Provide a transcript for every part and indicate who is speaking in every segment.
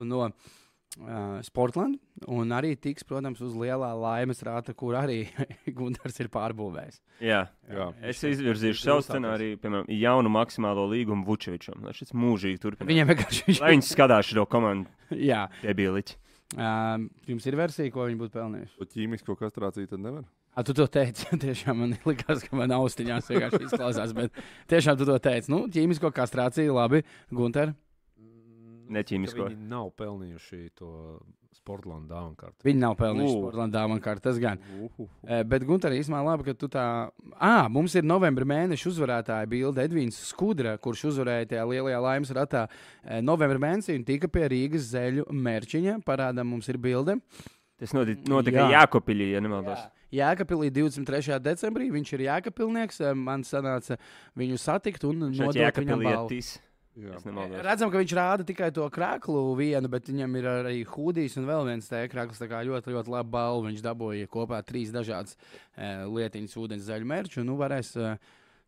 Speaker 1: no uh, Sportlandes. Un arī tiks, protams, uz lielā laimes rāta, kur arī Gunārs ir pārbūvējis.
Speaker 2: Jā,
Speaker 3: Jā.
Speaker 2: es
Speaker 1: Viņš-
Speaker 2: izvirzīšu
Speaker 1: viņš
Speaker 2: savu
Speaker 1: uzsākās.
Speaker 2: scenāriju, piemēram, jaunu maksimālo līgumu Vučevičam. Lai šis mūžīgi turpinās.
Speaker 1: Viņam vienkārši viņš...
Speaker 2: Lai viņš skatās šo komandu,
Speaker 1: Jā,
Speaker 2: debiliķi.
Speaker 1: um, jums ir versija, ko viņi būtu pelnījuši.
Speaker 3: To ķīmisko kastrāciju tad nevar.
Speaker 1: À, tu to teici. Tiešām man likās, ka man austiņās vienkārši izklausās. Bet tiešām tu to teici. Nu, ķīmisko kastrāciju, labi, Gunter.
Speaker 2: Neķīmisko.
Speaker 4: Viņi nav pelnījuši to Sportlandu dāvanu kārtu.
Speaker 1: Viņi nav pelnījuši
Speaker 3: Lū.
Speaker 1: Sportlandā, man kā tas gan.
Speaker 3: Uhu.
Speaker 1: E, Bet, Gunter, īstenībā labi, ka tu tā. Ah, mums ir novembra mēneša uzvarētāja bilde Edvīns Skudra, kurš uzvarēja tajā lielajā laimes ratā e, novembra mēnesī un tika pie Rīgas zeļu mērķiņa. Parādā mums ir bilde.
Speaker 2: Tas noti- notika
Speaker 1: Jā.
Speaker 2: Jākopilī, ja nemaldos.
Speaker 1: Jēkabīlī 23. decembrī viņš ir Jēkabīlnieks. Man sanāca viņu satikt un
Speaker 2: Šeit
Speaker 1: nodot viņam
Speaker 2: Jākopilī ir
Speaker 1: balvu.
Speaker 2: tīs.
Speaker 3: Jā.
Speaker 2: Es nemaldos.
Speaker 1: Redzam, ka viņš rāda tikai to krāklu vienu, bet viņam ir arī hūdijas un vēl viens tāds krāklis. Tā kā ļoti, ļoti labi balvu. Viņš dabūja kopā trīs dažādas e, lietiņas, ūdens zaļu mērķu. Un nu varēs e,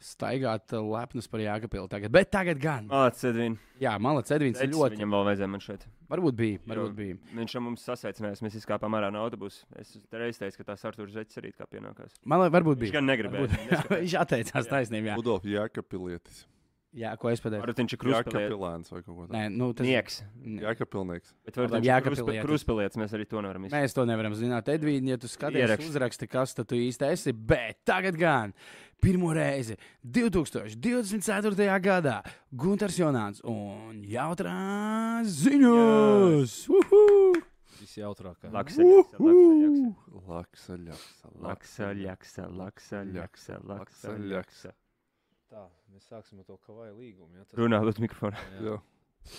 Speaker 1: staigāt e, lepnas par Jāgapilu tagad. Bet tagad gan.
Speaker 2: Mācis Edvin.
Speaker 1: Jā, Malas Edvins ir
Speaker 2: Ļoti.
Speaker 1: ļoti.
Speaker 2: Viņam vēl vajadzēja man šeit.
Speaker 1: Varbūt bija.
Speaker 2: Jo-
Speaker 1: Varbūt bija.
Speaker 2: Viņš jau mums sasveicinājās, mēs izkāpām ārā no autobusa. Es reiz teicu, ka tās Arthurs Zeķis arī kā pienākās.
Speaker 1: Man liekas, varbūt
Speaker 2: Viņš
Speaker 1: bija.
Speaker 2: gan negribēja.
Speaker 1: Varbūt- Jā, Viņš atteicās taisnība. Jā.
Speaker 3: Udolf Jēkapilietis.
Speaker 1: jā, ko es pateicu?
Speaker 2: Varbūt viņš ir kruspilēts.
Speaker 3: Jēkapilēns vai kaut ko tādu.
Speaker 1: Nē, nu, tas
Speaker 2: Nieks.
Speaker 1: Nē.
Speaker 3: Jēkapilnieks.
Speaker 2: Bet varbūt
Speaker 1: Labi,
Speaker 2: viņš ir
Speaker 1: Jēkabpilietis.
Speaker 2: krus- kruspilēts. Mēs arī to nevaram izdarīt.
Speaker 1: Mēs to nevaram zināt. Edvīna, ja tu skaties,
Speaker 2: Ieraksti.
Speaker 1: Ierakst. uzraksti, kas tad tu īsti esi. Bet tagad gan pirmo reizi 2024. gadā Gunārs Jonāns un jautrās ziņas! Uhu!
Speaker 4: Viss jautrākais.
Speaker 2: Laksaļaksa,
Speaker 3: Laksa, ļaksa,
Speaker 2: laksaļaksa, laksaļaksa, laksaļaksa.
Speaker 4: Tā, mēs sāksim ar to kavaju līgumu. Ja? Tas
Speaker 2: Runā, lūdzu, mikrofonā.
Speaker 4: jā.
Speaker 3: Jā.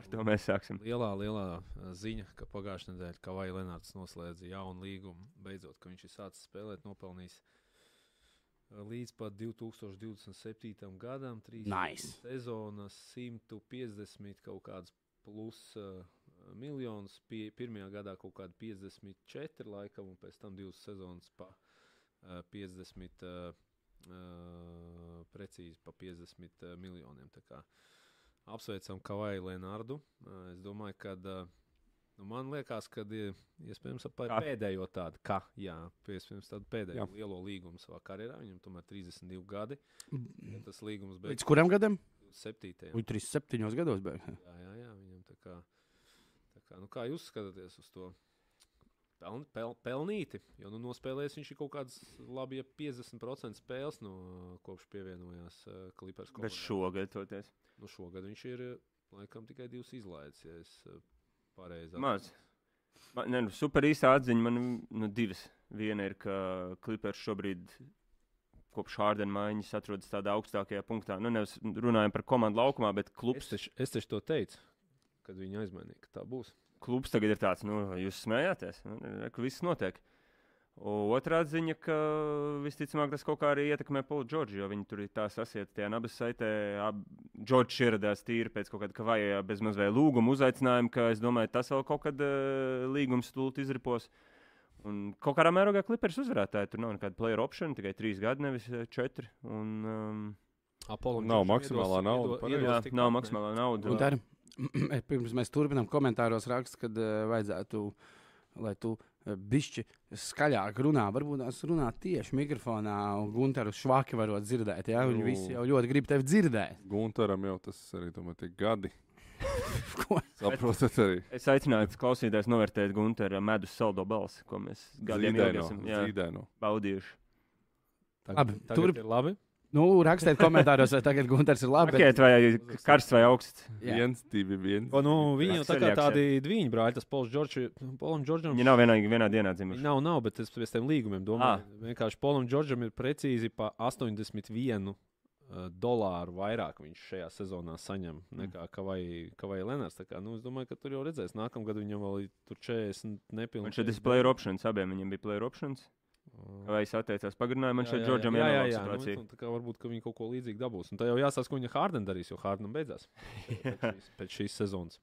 Speaker 2: Ar to mēs sāksim.
Speaker 4: Lielā, lielā eh, ziņa, ka pagājušā nedēļa Kavaja Lenārds noslēdza jaunu līgumu. Beidzot, ka viņš ir sācis spēlēt, nopelnījis eh, līdz pat 2027. gadam, 3
Speaker 1: Nice.
Speaker 4: sezonas 150 kaut kādas plus uh, miljonus. Pie, pirmajā gadā kaut kāda 54 laikam, un pēc tam divas sezonas pa uh, 50. Uh, Uh, precīzi pa 50 uh, miljoniem. Tā kā Apsveicam Kavaju Lenārdu. Uh, Es domāju, ka nu, man liekas, ka iespējams ap-
Speaker 2: Kā?
Speaker 4: pēdējo tādu, ka, jā, iespējams tādu pēdējo jā.
Speaker 3: Jā.
Speaker 4: lielo līgumu savā karjerā. Viņam tomēr 32 gadi. Ja tas līgums
Speaker 1: Līdz
Speaker 4: beidzas
Speaker 1: kuram gadam?
Speaker 4: 27.
Speaker 1: Uj, 37 gados. Bet.
Speaker 4: Jā, jā, jā viņam tā kā. Tā kā, nu, kā jūs skatāties uz to? Peln, pel, pelnīti, jo nu, nospēlējis viņš ir kaut kāds labi, ja 50% spēles no kopš pievienojās eh, Clippers.
Speaker 2: Bet šogad toties.
Speaker 4: Nu, šogad viņš ir eh, laikam tikai divas izlaides, ja es eh, pareizi
Speaker 2: Maz. Man, ne, nu, super īsta atziņa man nu, divas. Viena ir, ka Clippers šobrīd kopš Hārdena mājiņas atrodas tādā augstākajā punktā. Nu, nevis runājam par komandu laukumā, bet
Speaker 4: Es
Speaker 2: klubs,
Speaker 4: taču, es taču to teicu, kad viņi aizmainīja, ka tā būs.
Speaker 2: klubs tagad ir tāds, nu, jūs smējāties, nu, re, ka viss notiek. O, Otrā ziņa, ka visticamāk tas kaut kā arī ietekmē Polu Džordžu, jo viņi tur ir tā sasieti tajā abas saitē. Ab... Džordžs ieradās tīri pēc kaut kāda kavajā bezmaz vai lūguma uzaicinājuma, ka es domāju, tas vēl kaut kad uh, līgums stulti izripos. Un kaut kādā mērogā klipers uzvarētāji tur nav nekāda player option, tikai trīs gadi, nevis eh, četri. Un, um,
Speaker 4: Apollo
Speaker 3: Nav maksimālā nauda, pareizi.
Speaker 2: jā, nav maksimālā nauda.
Speaker 1: Un dar, pirms mēs turpinām, komentāros raksts, kad uh, vajadzētu, lai tu uh, bišķi skaļāk runā. Varbūt tās runā tieši mikrofonā, un Gunteru švaki varot dzirdēt. Ja? Viņi
Speaker 3: Nu.
Speaker 1: visi jau ļoti grib tevi dzirdēt.
Speaker 3: Gunteram jau tas arī tomēr tie gadi.
Speaker 1: Ko?
Speaker 3: Saprotat arī.
Speaker 2: Es aicinātu klausītājus novērtēt Gunteru medus saldo balsi, ko mēs gadiem ilgi
Speaker 3: Zīdaino.
Speaker 2: esam jā,
Speaker 3: Zīdaino.
Speaker 2: baudījuši.
Speaker 1: Labi,
Speaker 4: Labi,
Speaker 1: turp-
Speaker 4: turp... ir labi.
Speaker 1: Nu, rakstiet komentāros, vai tagad Gunārs ir labi.
Speaker 2: Pakēt vai karsts vai augsts.
Speaker 1: Jā.
Speaker 3: Viens, divi, viens.
Speaker 4: O, nu, viņi jau tā kā
Speaker 2: Akseļi,
Speaker 4: tādi divi brāļi, tas Pols Džordžs. Polam Džordžam
Speaker 2: Viņi nav vienīgi vienā dienā
Speaker 4: Viņi
Speaker 2: dzimuši.
Speaker 4: Nav, nav, bet es pēc tam līgumiem domāju. Ah. Vienkārši Polam Džordžam ir precīzi pa 81 uh, dolāru vairāk viņš šajā sezonā saņem
Speaker 2: Mm.
Speaker 4: nekā Kavai, Kavai Lenārs. Tā kā, Nu, es domāju, ka tur jau redzēs, nākamgad viņam vēl ir tur 40
Speaker 2: Un
Speaker 4: nepilnīgi.
Speaker 2: šeit ir player options, abiem viņiem bija player options. Vai es atteicos pagarinājumu, man šeit Džordžam ir jābūt situācijā.
Speaker 4: Nu, tā kā varbūt ka viņi kaut ko līdzīgu dabūs. Un tā jau jāsaka, ko viņa Hārdena darīs, jo Hārdena beidzās pēc šīs, pēc šīs sezonas.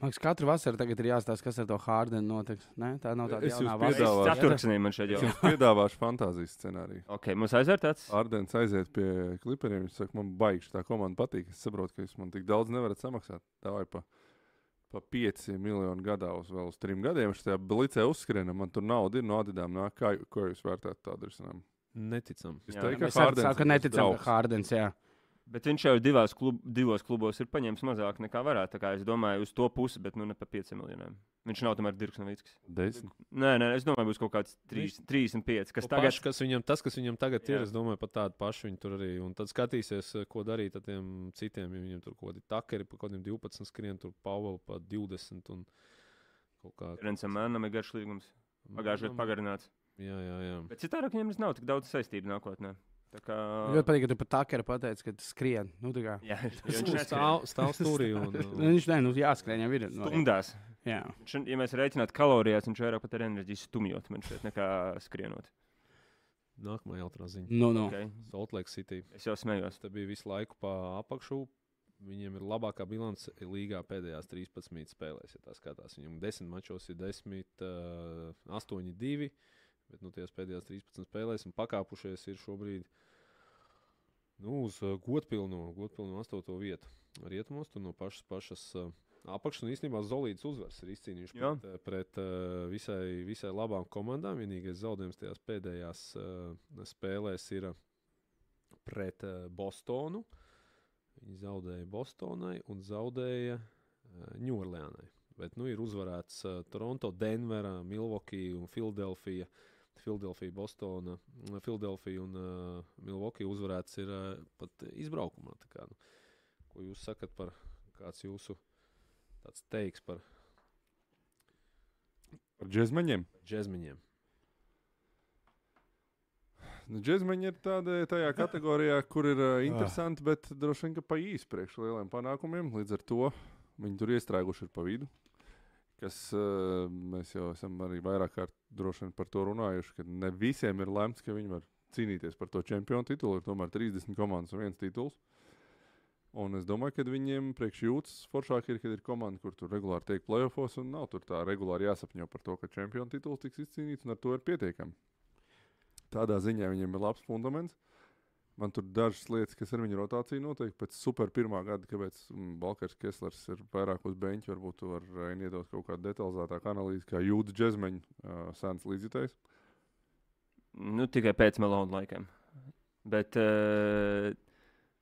Speaker 1: Man liekas, katru vasaru tagad ir jāstāsta, kas ar to Hārdenu notiks. Ne? Tā nav tāda
Speaker 3: Es
Speaker 1: jaunā
Speaker 3: jums
Speaker 1: vasara.
Speaker 3: piedāvāju.
Speaker 2: Ceturksnī man šeit
Speaker 3: Es
Speaker 2: jau.
Speaker 3: jums piedāvāšu fantāzijas scenāriju.
Speaker 2: Ok, mums aizvērtāts.
Speaker 3: Ardens aiziet pie kliperiem. Viņš saka, man baigš tā komanda patīk. Es saprotu, ka jūs man tik daudz nevarat samaksāt. Tā vai pa, pa 5 miljonu gadā uz vēl uz 3 gadiem. Viņš tajā blīcē uzskrēja, man tur nauda ir no Adidām. Nāk, kā, jū- ko jūs vērtētu tādu risinājumu?
Speaker 4: Neticam.
Speaker 3: Es
Speaker 2: Jā.
Speaker 3: teiktu, ka
Speaker 1: Mēs ar-
Speaker 3: Hārdens
Speaker 1: sākam, ka
Speaker 3: ir tas
Speaker 1: neticam,
Speaker 3: draugs.
Speaker 1: ka Hārdens, jā.
Speaker 2: Bet viņš jau divās klub, divos klubos ir paņēmis mazāk nekā varētu. Tā kā es domāju, uz to pusi, bet nu ne pa 5 miljoniem. Viņš nav tomēr Dirks Novickis.
Speaker 3: Desmit.
Speaker 2: Nē, nē, es domāju, būs kaut kāds trīs- 35. Kas
Speaker 4: Tas,
Speaker 2: tagad
Speaker 4: tagad... kas viņam, tas, kas viņam tagad
Speaker 2: Jā.
Speaker 4: ir, es domāju, pat tādu pašu viņu tur arī. Un tad skatīsies, eh, ko darīt ar tiem citiem. Ja viņam tur kaut kādi takeri, pa kaut kādiem 12 skrien, tur Pāvils pa 20. Un... kaut kā- nu,
Speaker 2: Rencam Mēnam ir garš līgums.
Speaker 1: Nu,
Speaker 2: Pagājušajā gadā pagarināts.
Speaker 4: Jā, jā, jā.
Speaker 2: Bet citādi viņam vairs nav tik daudz saistību nākotnē. Tā kā...
Speaker 1: Ļoti patīk, ka tu pat tā kā pateici, ka skrien. Nu, tā kā.
Speaker 2: Jā, jo
Speaker 4: Viņš
Speaker 2: viņš neskrien.
Speaker 4: stāv, stāv stūrī. Un,
Speaker 1: Nu,
Speaker 4: un...
Speaker 1: viņš ne, nu, jāskrien jau ir. No,
Speaker 2: Stumdās.
Speaker 1: jā.
Speaker 2: Viņš, ja mēs rēķinātu kalorijās, viņš vairāk pat ar enerģiju stumjot, man šeit nekā skrienot.
Speaker 4: Nākamā jautrā ziņa.
Speaker 1: Nu, nu.
Speaker 2: Okay?
Speaker 4: Salt Lake City.
Speaker 2: Es jau smējos.
Speaker 4: Tas bija visu laiku pa apakšu. Viņiem ir labākā bilance līgā pēdējās 13 spēlēs. Ja tā skatās. Viņam 10 mačos ir 10, uh, 8, 2. Bet nu, tajās pēdējās 13 spēlēs un pakāpušies ir šobrīd nu, uz uh, godpilno, godpilno 8 vietu. Rietumos tur no pašas, pašas uh, apakšas un īstenībā Zolīts uzvars ir izcīnījis
Speaker 2: Jā.
Speaker 4: pret, eh, pret eh, visai, visai labām komandām. Vienīgais zaudējums tajās pēdējās eh, spēlēs ir eh, pret eh, Bostonu. Viņi zaudēja Bostonai un zaudēja Ņūorleānai. Bet nu, ir uzvarēts eh, Toronto, Denvera, Milvokija un Filadelfija. Filadelfija, Bostona, mm, Filadelfija un uh, Milvokija uzvarēts ir uh, pat izbraukumā. Tā Kā, nu, ko jūs sakat par kāds jūsu tāds teiks par
Speaker 3: Ar džezmeņiem.
Speaker 4: džekmeņiem?
Speaker 3: Nu, džezmeņi ir tādā, tajā kategorijā, kur ir uh, interesanti, bet droši vien ka pa īsi priekš lieliem panākumiem. Līdz ar to viņi tur iestrēguši ir pa vidu. Kas, uh, mēs jau esam arī vairāk kārt droši vien par to runājuši, ka ne visiem ir lemts, ka viņi var cīnīties par to čempionu titulu. Ir tomēr 30 komandas un viens tituls. Un es domāju, ka viņiem priekš jūtas foršāk, ir, kad ir komanda, kur tur regulāri tiek playoffs un nav tur tā regulāri jāsapņo par to, ka čempionu tituls tiks izcīnīts un ar to ir pietiekami tādā ziņā viņiem ir labs fundaments. Man tur dažas lietas, kas ar viņu rotāciju notiek pēc super pirmā gada, kāpēc mm, Valkars Keslers ir vairāk uz beņķa. Varbūt tu vari Raini, iedot kaut kādu detalizētāku analīzi, kā jūdas džekmeņa uh, sēnes līdzjutējs.
Speaker 2: Nu, tikai pēc Melona laikiem. Bet uh,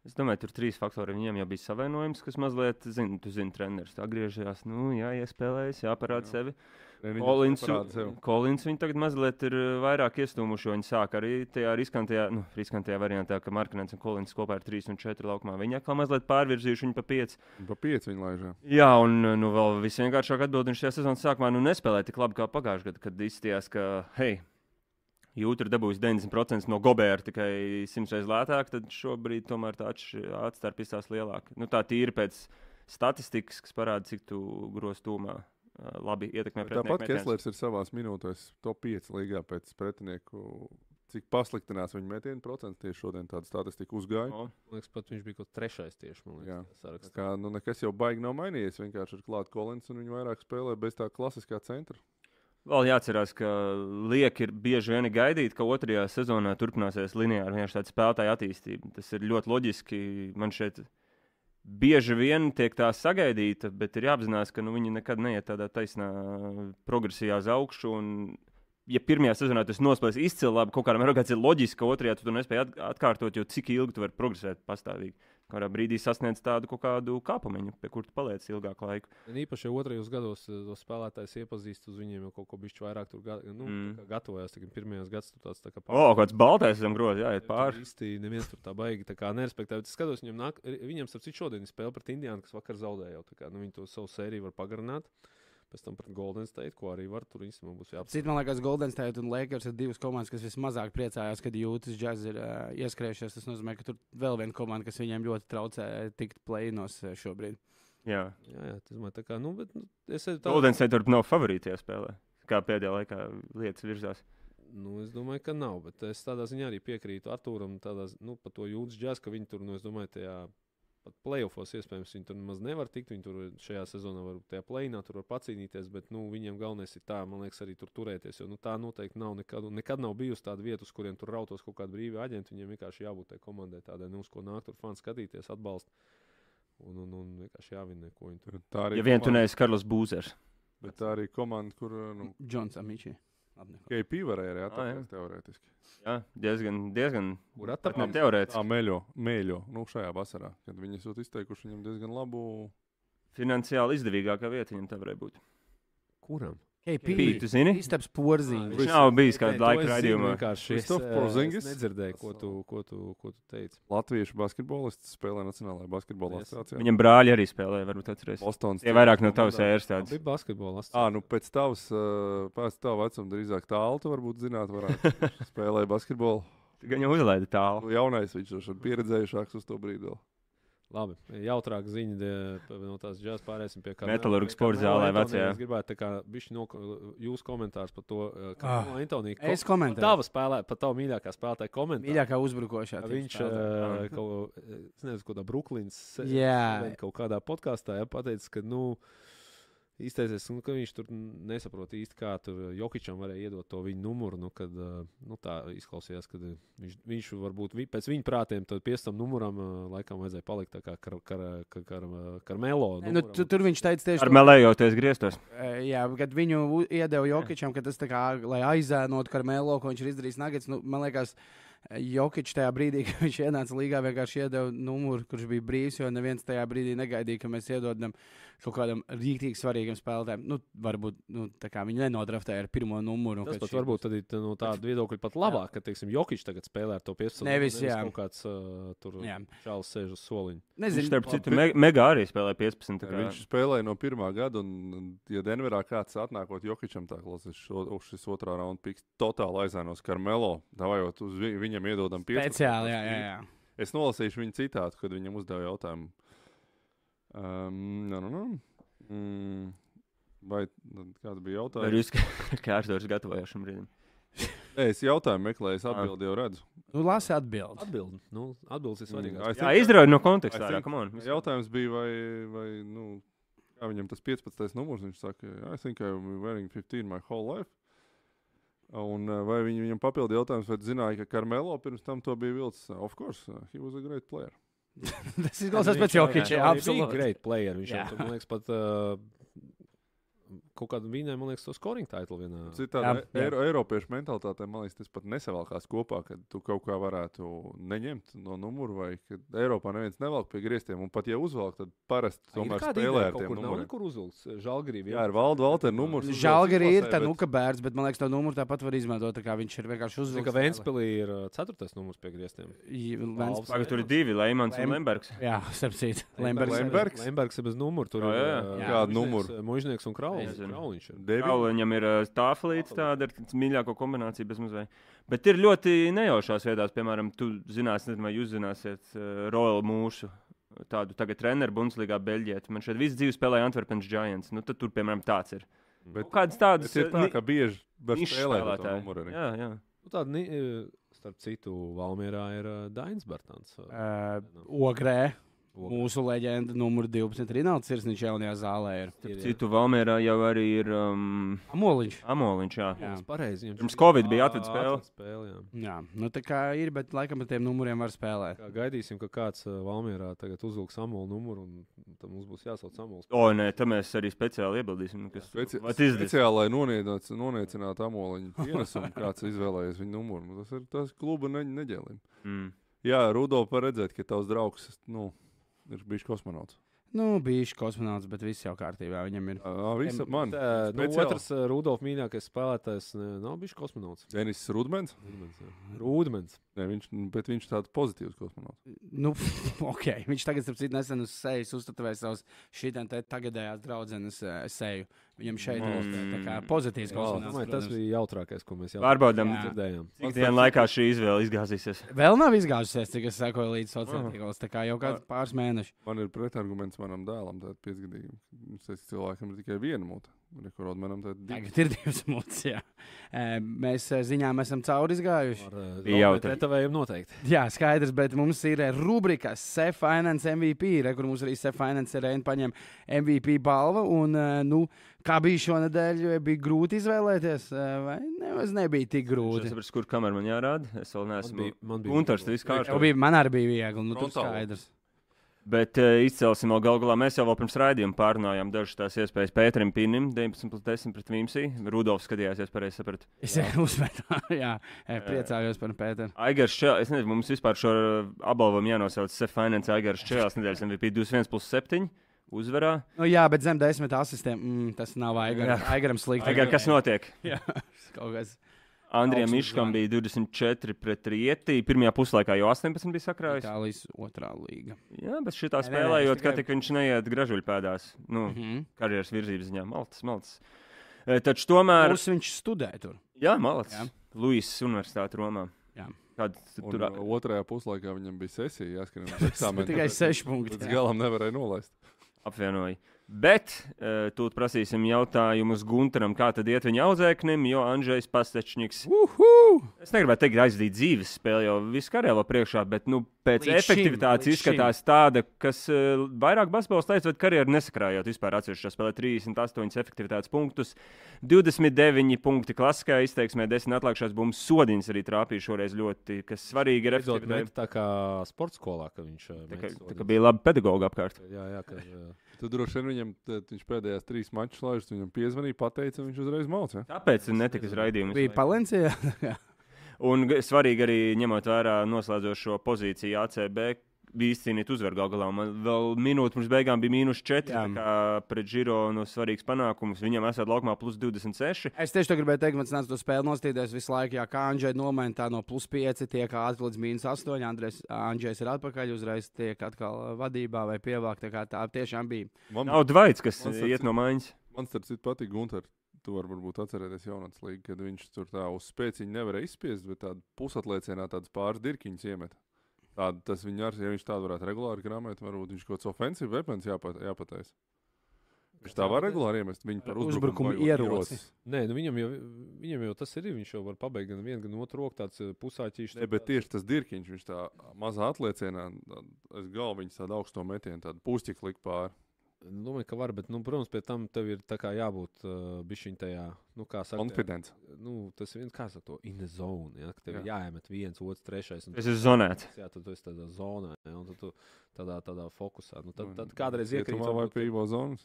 Speaker 2: es domāju, tur trīs faktori. Viņiem jau bija savainojums, kas mazliet, zin, tu zini, treneris tā griežās. Nu, jā, iespēlējas, jāparāda jā.
Speaker 3: Jā.
Speaker 2: sevi.
Speaker 3: Rainiņš
Speaker 2: Kolins,
Speaker 3: parāda sev.
Speaker 2: Kolins viņu tagad mazliet ir uh, vairāk iestūmuši. jo Viņi sāk arī tajā riskantajā, nu, riskantajā variantā, ka Markovs un Kolins kopā ir 3 un 4 laukumā. Viņi atkal mazliet pārvirzījuši viņu pa 5.
Speaker 3: Pa pieci viņa laižā.
Speaker 2: Jā, un uh, nu, vēl visvienkāršāk atbildēt, viņš šajā sezonas sākumā nu, nespēlēja tik labi kā pagājušajā gadā, kad izstījās, ka hei, jūtra dabūs 90% no gobēra tikai 100 reizes lētāk, tad šobrīd tomēr tā atš- atstarpe izstās lielāka. Nu, tā tīri pēc statistikas, kas parāda, cik tu groztumā labi ietekmē
Speaker 3: Bet Tāpat
Speaker 2: pretinieku metienus.
Speaker 3: Keslers ir savā minūtēs top 5 līgā pēc pretinieku. Cik pasliktinās viņa metienu procents tieši šodien tāda statistika uzgāja.
Speaker 2: O.
Speaker 4: Man liekas, pat viņš bija kaut kas trešais tieši man
Speaker 3: Jā.
Speaker 4: liekas, tajā sarakstā.
Speaker 3: Kā, nu, nekas jau baigi nav mainījies. Vienkārši ir klāts Kolins un viņa vairāk spēlē bez tā klasiskā centra.
Speaker 2: Vēl jāatcerās, ka lieki ir bieži vien gaidīt, ka otrajā sezonā turpināsies lineāra vienkārši tāda spēlētāja attīstība. Tas ir ļoti loģiski. Man šeit bieži vien tiek tā sagaidīta, bet ir jāapzinās, ka nu, viņi nekad neiet tādā taisnā progresijā uz augšu. Un, ja pirmajā sezonā tas nospēlēs izcili labi, kaut kādā mērā tas ir loģiski, ka otrajā tu to nespēj at- atkārtot, jo cik ilgi tu vari progresēt pastāvīgi. Kādā brīdī sasniedz tādu kaut kādu kāpumiņu, pie kur tu paliec ilgāku laiku.
Speaker 4: Un Īpaši jau otrajos gados eh, tos spēlētājus iepazīst, uz viņiem jau kaut ko bišķi vairāk tur ga- nu,
Speaker 2: Mm.
Speaker 4: mm. gatavojās. tā kā Pirmajos gados tur tāds tā kā
Speaker 2: O, oh, kāds baltais zem grozs, jāiet
Speaker 4: Pār
Speaker 2: pāri.
Speaker 4: īsti neviens tur tā baigi tā kā nerespektē. Bet Es skatos, viņam, nāk, viņam starp citu, šodien ir spēle pret Indiju, kas vakar zaudēja. jau tā Kā, nu, viņi to savu sēriju var pagarināt. Pēc tam pret Golden State, ko arī var tur īstenībā būs jāapsver.
Speaker 1: Cits man liekas, Golden State un Lakers ir divas komandas, kas vismazāk priecājās, kad jūtas džeks ir uh, ieskrējušies. Tas nozīmē, ka tur vēl viena komanda, kas viņiem ļoti traucē tikt plēnos šobrīd.
Speaker 2: Jā.
Speaker 4: Jā, jā, tas man tā kā, nu, bet nu, es arī tādu
Speaker 2: Goldens State nav favorīti tajā spēlē. Kā pēdējā laikā lietas virzās.
Speaker 4: Nu, es domāju, ka nav. Bet es tādā ziņā arī piekrītu Arthūram tādā, zi- nu, par to jūtas džēzu, ka viņi tur, nu, es domāju, tajā pat playoffs iespējams viņi tur nemaz nevar tikt. Viņi tur šajā sezonā var tajā plēnā tur var pacīnīties, bet nu, viņiem galvenais ir tā, man liekas, arī tur turēties. Jo nu, tā noteikti nav nekad, un nekad nav bijusi tāda vieta, uz kuriem tur rautos kaut kādi brīvi aģenti. Viņiem vienkārši jābūt tai komandai tādai, nu, uz ko nāk tur fani skatīties, atbalstīt. Un, un, un vienkārši jāvinē, ko viņi tur
Speaker 3: Tā arī
Speaker 2: Ja vien tu
Speaker 3: komanda-
Speaker 2: neesi Karls Būzers.
Speaker 3: bet tā arī komanda, kur nu,
Speaker 1: Džons Amičī. Apnieko.
Speaker 3: KP varēja arī
Speaker 2: Ah, jā.
Speaker 3: atrast teorētiski.
Speaker 2: Jā, diezgan, diezgan
Speaker 4: Kur
Speaker 2: ne
Speaker 4: atapām?
Speaker 2: teorētiski.
Speaker 3: Tā mēļo, mēļo, nu šajā vasarā, kad viņi esot izteikuši viņam diezgan labu.
Speaker 2: Finansiāli izdevīgākā vieta viņam tā varēja būt.
Speaker 4: Kuram?
Speaker 1: KP.
Speaker 2: Pīt, tu zini?
Speaker 1: Istaps porzīm.
Speaker 2: Viņš nav bijis kādu
Speaker 4: To
Speaker 2: laiku
Speaker 4: es zinu
Speaker 2: raidījumā.
Speaker 4: vienkārši. Es,
Speaker 3: Kristof
Speaker 4: eh,
Speaker 3: Porzingis?
Speaker 4: es nedzirdēju, ko
Speaker 3: Tas,
Speaker 4: tu, ko tu, ko tu teici.
Speaker 3: Latviešu basketbolists spēlē Nacionālajā basketbola
Speaker 4: Yes.
Speaker 3: asociācijā.
Speaker 2: Viņam brāļi arī spēlēja, varbūt atceries.
Speaker 3: Bostonas
Speaker 2: Tie vairāk no
Speaker 3: komandā.
Speaker 2: tavas ēras tādas.
Speaker 4: Bija basketbols.
Speaker 3: Ā, nu pēc tavas, uh, pēc tava vecuma drīzāk tālu, tu varbūt zināt, varētu spēlēt basketbolu.
Speaker 2: Gan jau uzlaida tālu.
Speaker 3: Nu, Jaunais viņš ir pieredzējušāks uz to brīdi. vēl.
Speaker 4: Labi, jautrāk ziņa de- pa- no tās džēzus pārēsim pie kā.
Speaker 2: Metalurgs sporta zālē vecajā.
Speaker 4: Es gribētu tā kā bišķi no jūsu komentārs par to, kā
Speaker 1: Ah,
Speaker 4: ah, Antonija. Ko,
Speaker 1: Es komentēju.
Speaker 4: tava spēlē, par tavu mīļākā spēlētāja komentāru.
Speaker 1: Mīļākā uzbrukošā.
Speaker 4: Ka
Speaker 1: tipa
Speaker 4: Viņš
Speaker 1: spēlētāja.
Speaker 4: eh, kaut, es nezinu, kādā Brooklynas se-
Speaker 1: Jā.
Speaker 4: šodien kaut kādā podkāstā ja, pateica, ka nu, izteicies, nu, ka viņš tur nesaprot īsti, kā tur Jokičam varēja iedot to viņa numuru. Nu, kad, eh, nu, tā izklausījās, ka viņš, viņš varbūt vi- pēc viņa prātiem tad pēc tam numuram eh, laikam vajadzēja palikt tā kā kar, kar, kar, kar, karmelo.
Speaker 1: Nē, Nu, tu, tur viņš teica tieši
Speaker 2: Ar
Speaker 1: to,
Speaker 2: melējoties griestos.
Speaker 1: E, Jā, kad viņu u- iedeva Jokičam, ka tas tā kā, lai aizēnotu Karmelo, ko viņš ir izdarījis Nagats, nu, man liekas, Jokič tajā brīdī, kad viņš ienāca līgā, vienkārši iedeva numuru, kurš bija brīvs, jo neviens tajā brīdī negaidīja, ka mēs iedodam kaut kādam rīktīgi svarīgam spēlētājam. Nu, varbūt, nu, tā kā viņi nenodraftēja ar pirmo numuru. un
Speaker 4: Tas
Speaker 1: kad
Speaker 4: pat
Speaker 1: šī-
Speaker 4: varbūt tad ir tā- no tāda viedokļa pat labāk, ka, teiksim, Jokičs tagad spēlē ar to 15.
Speaker 1: Nevis, jā.
Speaker 4: kaut kāds uh, tur
Speaker 1: Jā.
Speaker 4: čāls sēž uz soliņa.
Speaker 2: Viņš,
Speaker 1: Nezinu,
Speaker 2: starp
Speaker 3: labi,
Speaker 2: citu,
Speaker 3: bet-
Speaker 2: me- Mega arī spēlēja 15. tā
Speaker 3: Jā,
Speaker 2: kā-
Speaker 3: Viņš spēlēja no pirmā gada, un, ja Denverā kāds atnākot Jokičam, tā klausās, šis otrā raunda piks totāli aizēnos Karmelo. Davājot uz vi viņam iedodam 15.
Speaker 1: speciāli, jā, jā, jā.
Speaker 3: Es nolasīšu viņa citātu, kad viņam uzdeva jautājumu. Um, nu, nu, nu. Mm, vai tad kāds bija
Speaker 2: Vai
Speaker 3: jautājums?
Speaker 2: jūs kārtos gatavojāt šim brīdim?
Speaker 3: Nē, es jautājumu meklēju, es atbildi jau redzu. Mm,
Speaker 1: Nu, lasi atbildi.
Speaker 4: Atbildi. Nu, atbildes ir svarīgākas.
Speaker 3: I
Speaker 2: Jā,
Speaker 3: think-
Speaker 2: izdarīt no
Speaker 3: I
Speaker 2: konteksta. Jā,
Speaker 3: think-
Speaker 2: come on.
Speaker 3: Jautājums bija, vai, vai nu, kā viņam tas 15. numurs, viņš saka, I think I've been wearing 15 my whole life. Un eh, vai viņi, viņam papildi jautājums, vai tu zināji, ka Karmelo pirms tam to bija vilcis? Of course, eh, he was a great player.
Speaker 1: Tas izklausās pēc
Speaker 4: Viņš
Speaker 1: Jokiča,
Speaker 4: jau bija
Speaker 1: absolūti.
Speaker 4: great player. Viņš jau,
Speaker 1: Jā.
Speaker 4: tur, man liekas, pat uh, kaut kādu viņai, man liekas, to scoring titulu vienā.
Speaker 3: Citādi eh,
Speaker 1: Jā, jā.
Speaker 3: eiro, Eiropiešu mentalitātē, man liekas, tas pat nesavalkās kopā, ka tu kaut kā varētu neņemt no numura, vai ka Eiropā neviens nevelk pie griestiem, un pat ja uzvelk, tad parasti tomēr spēlē ar tiem
Speaker 4: Nav
Speaker 3: numuriem.
Speaker 4: nekur uzvilkts. Žalgrīvi.
Speaker 3: Jā, ir Valda Valtera numurs. uzvilks
Speaker 1: Nu, Žalgari ir nu-
Speaker 3: izlasē,
Speaker 1: tā
Speaker 3: Nu, bet-
Speaker 1: nuka bērns, bet man liekas, to numuru tāpat var izmantot. Tā kā viņš ir vienkārši
Speaker 4: Zinu, ka
Speaker 1: uzvilcis.
Speaker 4: Vēnspēlī ir uh, ceturtais numurs pie griestiem.
Speaker 1: J-
Speaker 4: Valvs.
Speaker 1: Ventspils.
Speaker 2: Pagaidā, tur ir divi, Leimans un
Speaker 1: Lem-
Speaker 2: Lembergs.
Speaker 1: Jā, starp citu,
Speaker 3: Lembergs.
Speaker 1: Lembergs.
Speaker 3: Lembergs.
Speaker 4: Lembergs ir bez numura. Tur
Speaker 2: Jā,
Speaker 4: ir
Speaker 2: jā.
Speaker 1: Jā.
Speaker 4: uh,
Speaker 3: Oh, Kādu
Speaker 4: Mužnieks-
Speaker 3: numuru?
Speaker 4: Mužnieks un Kraulis.
Speaker 2: Nezinu.
Speaker 4: Krauliņš ir.
Speaker 3: Devi-
Speaker 2: Jau viņam ir uh, tāflīts, tāda ir mīļākā kombinācija bez mazliet. Bet ir ļoti nejaušās vietās, piemēram, tu zināsi, nezinu, vai jūs zināsiet, uh, Royal Mūšu. Tādu tagad treneru Bundeslīgā Beļģijā. Man šeit visu dzīvi spēlēja Antverpenes Giants. Nu, tad tur, piemēram, tāds ir.
Speaker 3: Bet-
Speaker 2: Kaut kādas tādas
Speaker 3: Tas ir tā,
Speaker 2: ni-
Speaker 3: ka bieži var
Speaker 2: nišas
Speaker 3: spēlēt ar to
Speaker 2: spēlētāji.
Speaker 3: numuru arī.
Speaker 2: Jā, jā.
Speaker 4: Nu, tāda ni- uh, Starp citu, Valmjerā ir uh, Dainis Bartons. uh,
Speaker 1: Uh, Ogrē,
Speaker 4: Vogt.
Speaker 1: mūsu leģenda, numur 12. Rināls Sirsniņš jaunajā zālē ir.
Speaker 4: Ir, jā.
Speaker 2: Citu Valmērā jau arī ir um,
Speaker 1: Amoliņš.
Speaker 2: Amoliņš. Jā.
Speaker 1: Jā.
Speaker 4: Tas pareizi. viņam
Speaker 2: Pirms
Speaker 4: šī-
Speaker 2: Covid bija
Speaker 4: Ā,
Speaker 2: atved spēle.
Speaker 4: atved spēle, jā.
Speaker 1: Jā, nu tā kā ir, bet laikam ar tiem numuriem var spēlēt.
Speaker 4: Kā gaidīsim, ka kāds ā, Valmjerā tagad uzvilks amolu numuru, un tad mums būs jāsauc amols.
Speaker 2: O, nē, tā mēs arī speciāli iebildīsim. nu, Kas...
Speaker 3: Speci
Speaker 2: Vat izdarīt.
Speaker 3: speciāli, lai noniedāc- noniecinātu amoliņu pienesumu, kāds izvēlējies viņa numuru. Nu, Tas ir tas kluba ne neģēlim.
Speaker 2: Mm.
Speaker 3: Jā, Rudolf, var redzēt, ka tavs draugs nu, ir bijis kosmonauts.
Speaker 1: Nu, bijuši kosmonauts, bet viss jau kārtībā viņam ir.
Speaker 3: Ā, Viss ap mani.
Speaker 4: Tā, nu,
Speaker 3: Speciāli.
Speaker 4: otrs ā, Rudolf mīļākais spēlētājs ā, nav bijis kosmonauts.
Speaker 3: Denis Rudmens,
Speaker 4: Rudmens, jā. Rudmens.
Speaker 3: ne, viņš, bet viņš tāds pozitīvs kosmonauts.
Speaker 1: Nu, ok, viņš tagad, starp citu, nesen uz sejas uztatuvēja savus šitiem te tagadējās draudzenes eh, seju. Viņam šeit ir tā kā
Speaker 2: Mm.
Speaker 1: pozitīvs
Speaker 4: Es domāju, tas
Speaker 1: kosmonauts.
Speaker 4: bija jautrākais, ko mēs jau
Speaker 2: Pārbaudām,
Speaker 1: Jā.
Speaker 4: dzirdējām.
Speaker 2: cik dienā laikā šī izvēle izgāzīsies.
Speaker 1: Vēl nav izgāzusies, cik es sekoju līdz sociālajiem tīkliem. Tā kā jau kāds pāris mēnešus.
Speaker 3: Man ir pretarguments manam dēlam, tātad piecgadīgam. Viņš teica, cilvēkam ir tikai viena mūte. Rekordmenam tātad divi.
Speaker 1: Tagad ir divas mūcis. jā. Eh, Mēs eh, ziņām esam cauri izgājuši.
Speaker 2: Bija jautri.
Speaker 4: Retavējiem noteikti.
Speaker 1: Jā, skaidrs, bet mums ir eh, rubrika Sefinance MVP, re, kur mums arī Sefinance Reina paņem MVP balvu. Un, eh, nu, kā bija šonadēļ, eh, bija grūti izvēlēties, eh, vai nemaz nebija tik
Speaker 2: Es
Speaker 1: grūti.
Speaker 2: saprotu, kur kamerā man jārāda. Es vēl
Speaker 4: Man
Speaker 2: neesmu.
Speaker 4: bija- Man bija.
Speaker 2: Gunārs, tas viss
Speaker 1: Jau
Speaker 2: kārtībā.
Speaker 1: bija, man arī bija viegli, nu, tas
Speaker 3: Frontālo.
Speaker 1: skaidrs.
Speaker 2: Bet uh, izcelsim vēl galu galā. Mēs jau vēl pirms raidījuma pārunājām dažas tās iespējas Pēterim Pinim, 19 pret 10 pret Vimsī. Rudolfs skatījās, ja es pareizi sapratu.
Speaker 1: Es uzmetu, jā, e, priecājos par Pēteru.
Speaker 2: Aigars Čēlis, es nezinu, mums vispār šo ā, apbalvojumu jānosauc Sef Finance Aigars Čēlis nedēļas MVP 21 plus 7 uzvarā.
Speaker 1: Nu, jā, bet zem desmit asistiem mm, tas nav Aigaram.
Speaker 2: Jā.
Speaker 1: Aigaram slikti.
Speaker 2: Aigar, kas notiek?
Speaker 1: Jā, kaut kas.
Speaker 2: Andrijam
Speaker 1: Augsts
Speaker 2: Miškam
Speaker 1: zvans.
Speaker 2: bija 24 pret Rieti. Pirmajā puslaikā jau 18 bija sakrājis.
Speaker 1: Itālijas otrā līga.
Speaker 2: Jā, bet šitā
Speaker 1: Nē, nē,
Speaker 2: spēlējot,
Speaker 1: es
Speaker 2: kā
Speaker 1: tikai-
Speaker 2: tik viņš neiet gražuļpēdās. Nu,
Speaker 1: Mhm.
Speaker 2: karjeras virzības ziņā. Maltas, maltas. E, Taču tomēr,
Speaker 1: Plus viņš studē tur.
Speaker 2: Jā, malats.
Speaker 1: Jā.
Speaker 2: Luisas Universitāte Romā.
Speaker 1: Jā.
Speaker 2: Kāda tu-
Speaker 3: Un,
Speaker 2: tur
Speaker 3: uh, otrajā puslaikā viņam bija sesija, jāskrien uz eksāmenu.
Speaker 1: Tikai
Speaker 3: tāpēc
Speaker 1: seši punkti.
Speaker 3: Līdz
Speaker 1: jā.
Speaker 3: galam nevarēja nolaist.
Speaker 2: apvienoja? Bet e, tūlīt prasīsim jautājumus Gunteram, kā tad iet viņa audzēknim, jo Andrzejs Pastečņiks.
Speaker 1: Uhu!
Speaker 2: Es negribētu teikt, aizdīt dzīves spēli jau visu karjeru priekšā, bet nu, pēc
Speaker 1: Līdz
Speaker 2: līdz
Speaker 1: šim, līdz
Speaker 2: efektivitātes
Speaker 1: šim.
Speaker 2: izskatās šim. tāda, kas e, vairāk basketbols teica, bet karjeru nesakrājot vispār atsevišķā spēlē 38 efektivitātes punktus, 29 punkti klasiskajā izteiksmē, 10 atlikušās bumbas sodiņas arī trāpīja šoreiz ļoti, kas svarīgi ir
Speaker 4: Beidzot,
Speaker 2: efektivitāte.
Speaker 4: met tā kā sporta skolā, ka viņš uh,
Speaker 2: Tā
Speaker 4: met
Speaker 2: kā, tā kā
Speaker 4: sodiņas.
Speaker 2: bija labi pedagoģi apkārt.
Speaker 4: Jā, jā, ka, uh,
Speaker 3: Tu droši vien viņam, tad viņš pēdējās trīs mačus laižus, viņam piezvanīja, pateica, un viņš uzreiz mācīja.
Speaker 2: Tāpēc viņš netika uz raidījumu.
Speaker 1: Bija Palencija.
Speaker 2: Un g- svarīgi arī ņemot vērā noslēdzošo pozīciju ACB. Bija izcīnīt uzvaru galu galā. Man vēl minūte pirms beigām bija mīnus 4.
Speaker 1: Jā.
Speaker 2: tā Kā pret Gironu svarīgs panākums. Viņam esat laukumā plus 26.
Speaker 1: Es tieši to gribēju teikt, man nāca to spēli nostīties visu laiku. Jā, kā Andrzejs nomainīja, tā no plus 5 tiek atkal līdz mīnus 8. Andrejs, Andrzejs ir atpakaļ, uzreiz tiek atkal ā, vadībā vai pievilkt. Tā kā tā tiešām bija.
Speaker 3: Man,
Speaker 2: Nav dvaits, kas
Speaker 3: Man
Speaker 2: iet
Speaker 3: sacīt-
Speaker 2: no mājas.
Speaker 3: man starp citu, patīk Gunter. Tu vari varbūt atcerēties jaunatnes līgu, kad viņš tur tā uz spēciņu nevarēja izspiest, bet tādu pusatliecienā tādas pāris dirkiņas iemet. Tāda, tas viņa arī, ja viņš tādu varētu regulāri grāmēt, varbūt viņš kaut kāds ofensīvs weapons jāpat, jāpatais. Viņš tā var regulāri iemest, viņa par
Speaker 1: Ar uzbrukumu
Speaker 3: uzbrukumu vajag
Speaker 1: ieroci.
Speaker 3: ierocis.
Speaker 4: Nē, nu viņam, jau, viņam jau tas ir. Viņš jau var pabeigt gan vienu, gan otru roku, tāds uh, pusāķīšs.
Speaker 3: Ne, bet tieši tas dirkiņš, viņš tā mazā atliecienā, tā, aiz galviņas tādu augsto metienu, tādu pūstiķu likt pāri.
Speaker 4: Domāju, ka var, bet, nu, protams, pie tam tev ir tā kā jābūt uh, bišķiņ tajā, nu, kā saka, tajā,
Speaker 3: Konfidents.
Speaker 4: nu, tas viens kā saka, to in the zone, ja, ka tev jā.
Speaker 3: Jā.
Speaker 4: jāiemet viens, otrs, trešais. Un,
Speaker 2: Es esmu zonēts.
Speaker 4: jā, tad tu esi tādā zonā, ja, un tad tu tādā, tādā fokusā. Nu, tad,
Speaker 3: Nu,
Speaker 4: tad kādreiz
Speaker 3: Cietumā
Speaker 4: iekrīt.
Speaker 3: vai
Speaker 4: varbūt,
Speaker 3: pie Ivo zonas.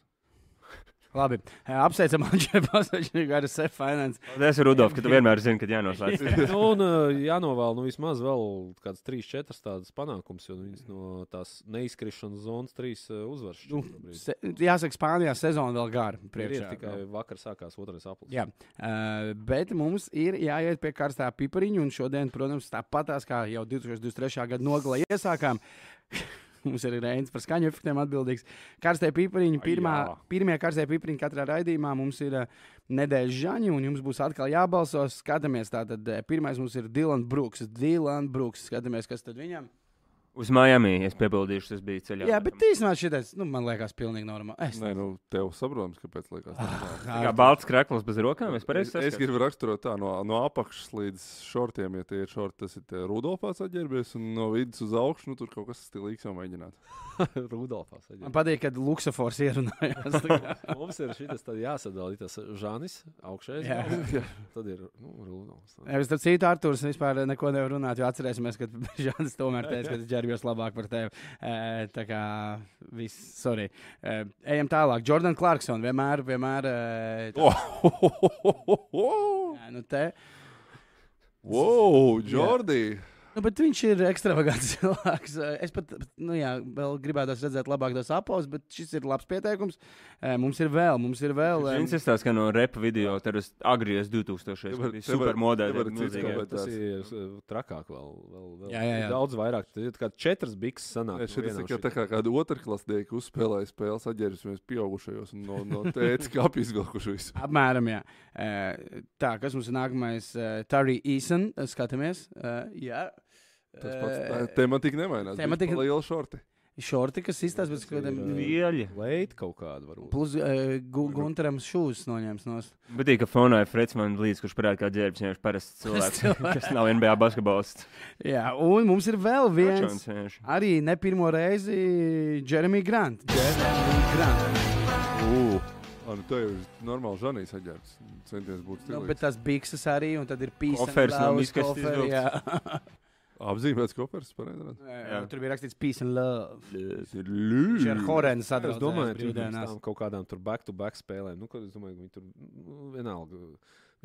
Speaker 1: Labi, ā, apsveicam Andrēju Pasažņiku ar SEF Finance.
Speaker 2: Es esmu Rudolf, ka tu vienmēr zini, kad jānoslēdz.
Speaker 4: nu, un uh, jānovēl nu, vismaz vēl kādas trīs, četras tādas panākumus, jo nu, viņas no tās neizkrišanas zonas trīs uh, uzvaras.
Speaker 1: Nu,
Speaker 4: šobrīd.
Speaker 1: Se, jāsaka, Spānijā sezona vēl gara.
Speaker 4: Ir
Speaker 1: Priekšā, nu.
Speaker 4: tikai vakar sākās otrais aplis.
Speaker 1: Jā, uh, bet mums ir jāiet pie karstā pipariņa. Un šodien, protams, tāpatās kā jau 2023. gada nogalē iesākām. Mums ir Reņģis par skaņu efektiem atbildīgs. Karstie pipariņi, pirmā,
Speaker 3: jā.
Speaker 1: pirmie karstie pipariņi katrā raidījumā mums ir uh, nedēļas žaņi, un jums būs atkal jābalso. Skatāmies, tātad uh, pirmais mums ir Dilans Brooks. Dilans Brooks, skatāmies, kas tad viņam.
Speaker 2: Uz Miami es piebildīšu, tas bija ceļā.
Speaker 1: Jā, jā bet īstenībā šis, nu, man liekas, pilnīgi normāli. Es
Speaker 3: Nē, nu, tev saprotams, kāpēc liekas. tā.
Speaker 2: Kā balts krekls bez rokām, Ah, nu, es
Speaker 3: Es,
Speaker 2: pareizi
Speaker 3: es
Speaker 2: saprotu.
Speaker 3: gribu raksturot tā, no, no apakšas līdz šortiem, ja tie ir šorti, tas ir tie Rudolfs atģērbies, un no vidus uz augšu, nu tur kaut kas stilīgs jau mēģināt.
Speaker 4: Rudolfs.
Speaker 1: Man patīk, kad Luksafors ierunājās. tā kā.
Speaker 4: Mums ir šis tāds jāsadala. Ir tas Žanis, augšējais.
Speaker 1: Jā.
Speaker 4: Jā. Tad ir nu, Rudolfs.
Speaker 1: Jā, Es tam citu Arthurs vispār neko nevaru runāt, jo atcerēsimies, ka Žants tomēr teica, ka es ģērbjos labāk par tevi. E, tā kā viss, sorry. E, ejam tālāk. Jordan Clarkson vienmēr, vienmēr. E, tā,
Speaker 3: Wow,
Speaker 1: jā, nu te.
Speaker 3: Jordi!
Speaker 1: Nu, bet viņš ir ekstravagants cilvēks. E, Es pat, nu jā, vēl gribētu redzēt labāk tos apavus, bet šis ir labs pieteikums. E, mums ir vēl, mums ir vēl.
Speaker 2: Viņš izstāsta, ka no repa video tur uz agrijas 2000.
Speaker 3: Tev ar-
Speaker 2: bija
Speaker 3: tev ar-
Speaker 2: supermodē.
Speaker 3: tev ar
Speaker 2: tāda
Speaker 3: citu
Speaker 2: milzīga.
Speaker 3: kaut vai
Speaker 4: Tas
Speaker 3: tāds.
Speaker 4: ir uh, trakāk vēl. vēl, vēl.
Speaker 1: Jā, jā, jā.
Speaker 4: Daudz vairāk. Tad ir kā četras bikses sanāk. nu,
Speaker 3: Es šeit
Speaker 4: vienā
Speaker 3: esmu tā
Speaker 4: šitā.
Speaker 3: kā kāda otrklasnieka uzspēlēja spēles atģērbsimies pieaugušajos un no, no tēta kāpj izvilkuši visu.
Speaker 1: Apmēram, jā. E, tā, kas mums ir nākamais? E, Tarī Eason, skatāmies. E, jā.
Speaker 3: Tas pats tā, tematika nemainās.
Speaker 1: Eh, tematika-
Speaker 3: Tematika... Liela šorti.
Speaker 1: Šorti, kas izstāsta pēc kaut kādiem.
Speaker 4: ir,
Speaker 2: Vieļi.
Speaker 4: Leit kaut kādu varbūt.
Speaker 1: Plus uh, Gunteram šūs noņems no
Speaker 2: Bet kā fonā ir Frits man līdz, kurš parāda, kā ģērbs vienkārši parasts cilvēks, kas nav NBA basketbolists.
Speaker 1: Jā, un mums ir vēl viens.
Speaker 2: Čons vienkārši.
Speaker 1: Arī ne pirmo reizi Jeremija Grant. Jeremy Grant.
Speaker 3: Ū, ā, nu tev ir normāli žanīs atģērbs. Centies
Speaker 1: Nu,
Speaker 3: būt stilīgs.
Speaker 1: bet tas bikses arī, un tad ir pīsā.
Speaker 2: Kofers nav izkastis vilks.
Speaker 3: Apzīmēts kopers par Edvardu.
Speaker 2: Jā.
Speaker 1: Tur bija rakstīts Peace and Love.
Speaker 3: Tas ir
Speaker 1: Viņš ar
Speaker 3: ļoti
Speaker 1: Horēnu
Speaker 4: Jā,
Speaker 1: sadarbojas.
Speaker 4: Es domāju, ka viņi tam kaut kādām tur back-to-back spēlēm. Nu, kad es domāju, ka viņi tur nu, vienalga.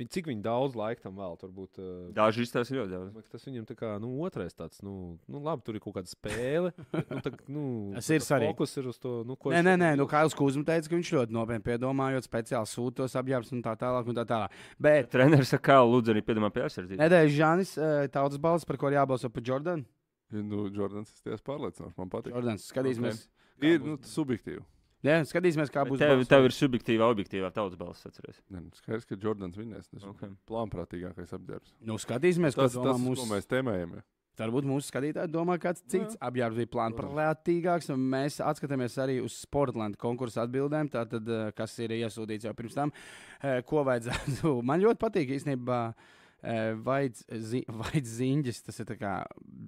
Speaker 4: Viņi, cik viņi daudz laika tam vēl tur būtu.
Speaker 2: Daži izstāsta ļoti daudz.
Speaker 4: Tas viņam tā kā nu, otrais tāds, nu, nu, labi, tur ir kaut kāda spēle. bet, Nu, tā, nu,
Speaker 1: Tas ir
Speaker 4: tas
Speaker 1: svarīgi.
Speaker 4: Fokus ir uz to, nu, ko
Speaker 1: Nē, nē, nē, nu Kails Kūzma teica, ka viņš ļoti nopietni piedomājot, speciāli sūta tos apģērbus un tā tālāk. Un tā tālāk. Bet
Speaker 2: Treneris saka, ka Lūdzu, arī piedomā pie aizsardzības.
Speaker 1: nedēļas Žānis, eh, tautas balss, par ko ir jābalso par Jordānu.
Speaker 3: Nu, Jordans ir tiešām pārliecinošs. Man patīk.
Speaker 1: Jordāns, skatīsimies,
Speaker 3: Ir nu, subjektīvi.
Speaker 1: jā, skatīsimies kā būs.
Speaker 2: Tev,
Speaker 1: balsojums.
Speaker 2: tev ir subjektīva, objektīva tautas balss. Atceries.
Speaker 3: Nē, nu, Skaidrs, ka Jordans vinnēs. Tas ir
Speaker 2: Okay.
Speaker 3: plānprātīgākais apģērbs.
Speaker 1: Nu, skatīsimies, ko
Speaker 3: Tas, tas,
Speaker 1: domā
Speaker 3: ko
Speaker 1: mūsu.
Speaker 3: mēs tēmējam. ja.
Speaker 1: Varbūt mūsu skatītāji domā, ka kāds cits apģērbs bija plānprātīgāks. un Mēs atskatāmies arī uz Sportlandu konkursu atbildēm, tātad, eh, kas ir iesūtīts jau pirms tam. Eh, Ko vajadzētu? Man ļoti patīk īstenībā. eh, Vaids zi, vaids ziņģis, tas ir tā kā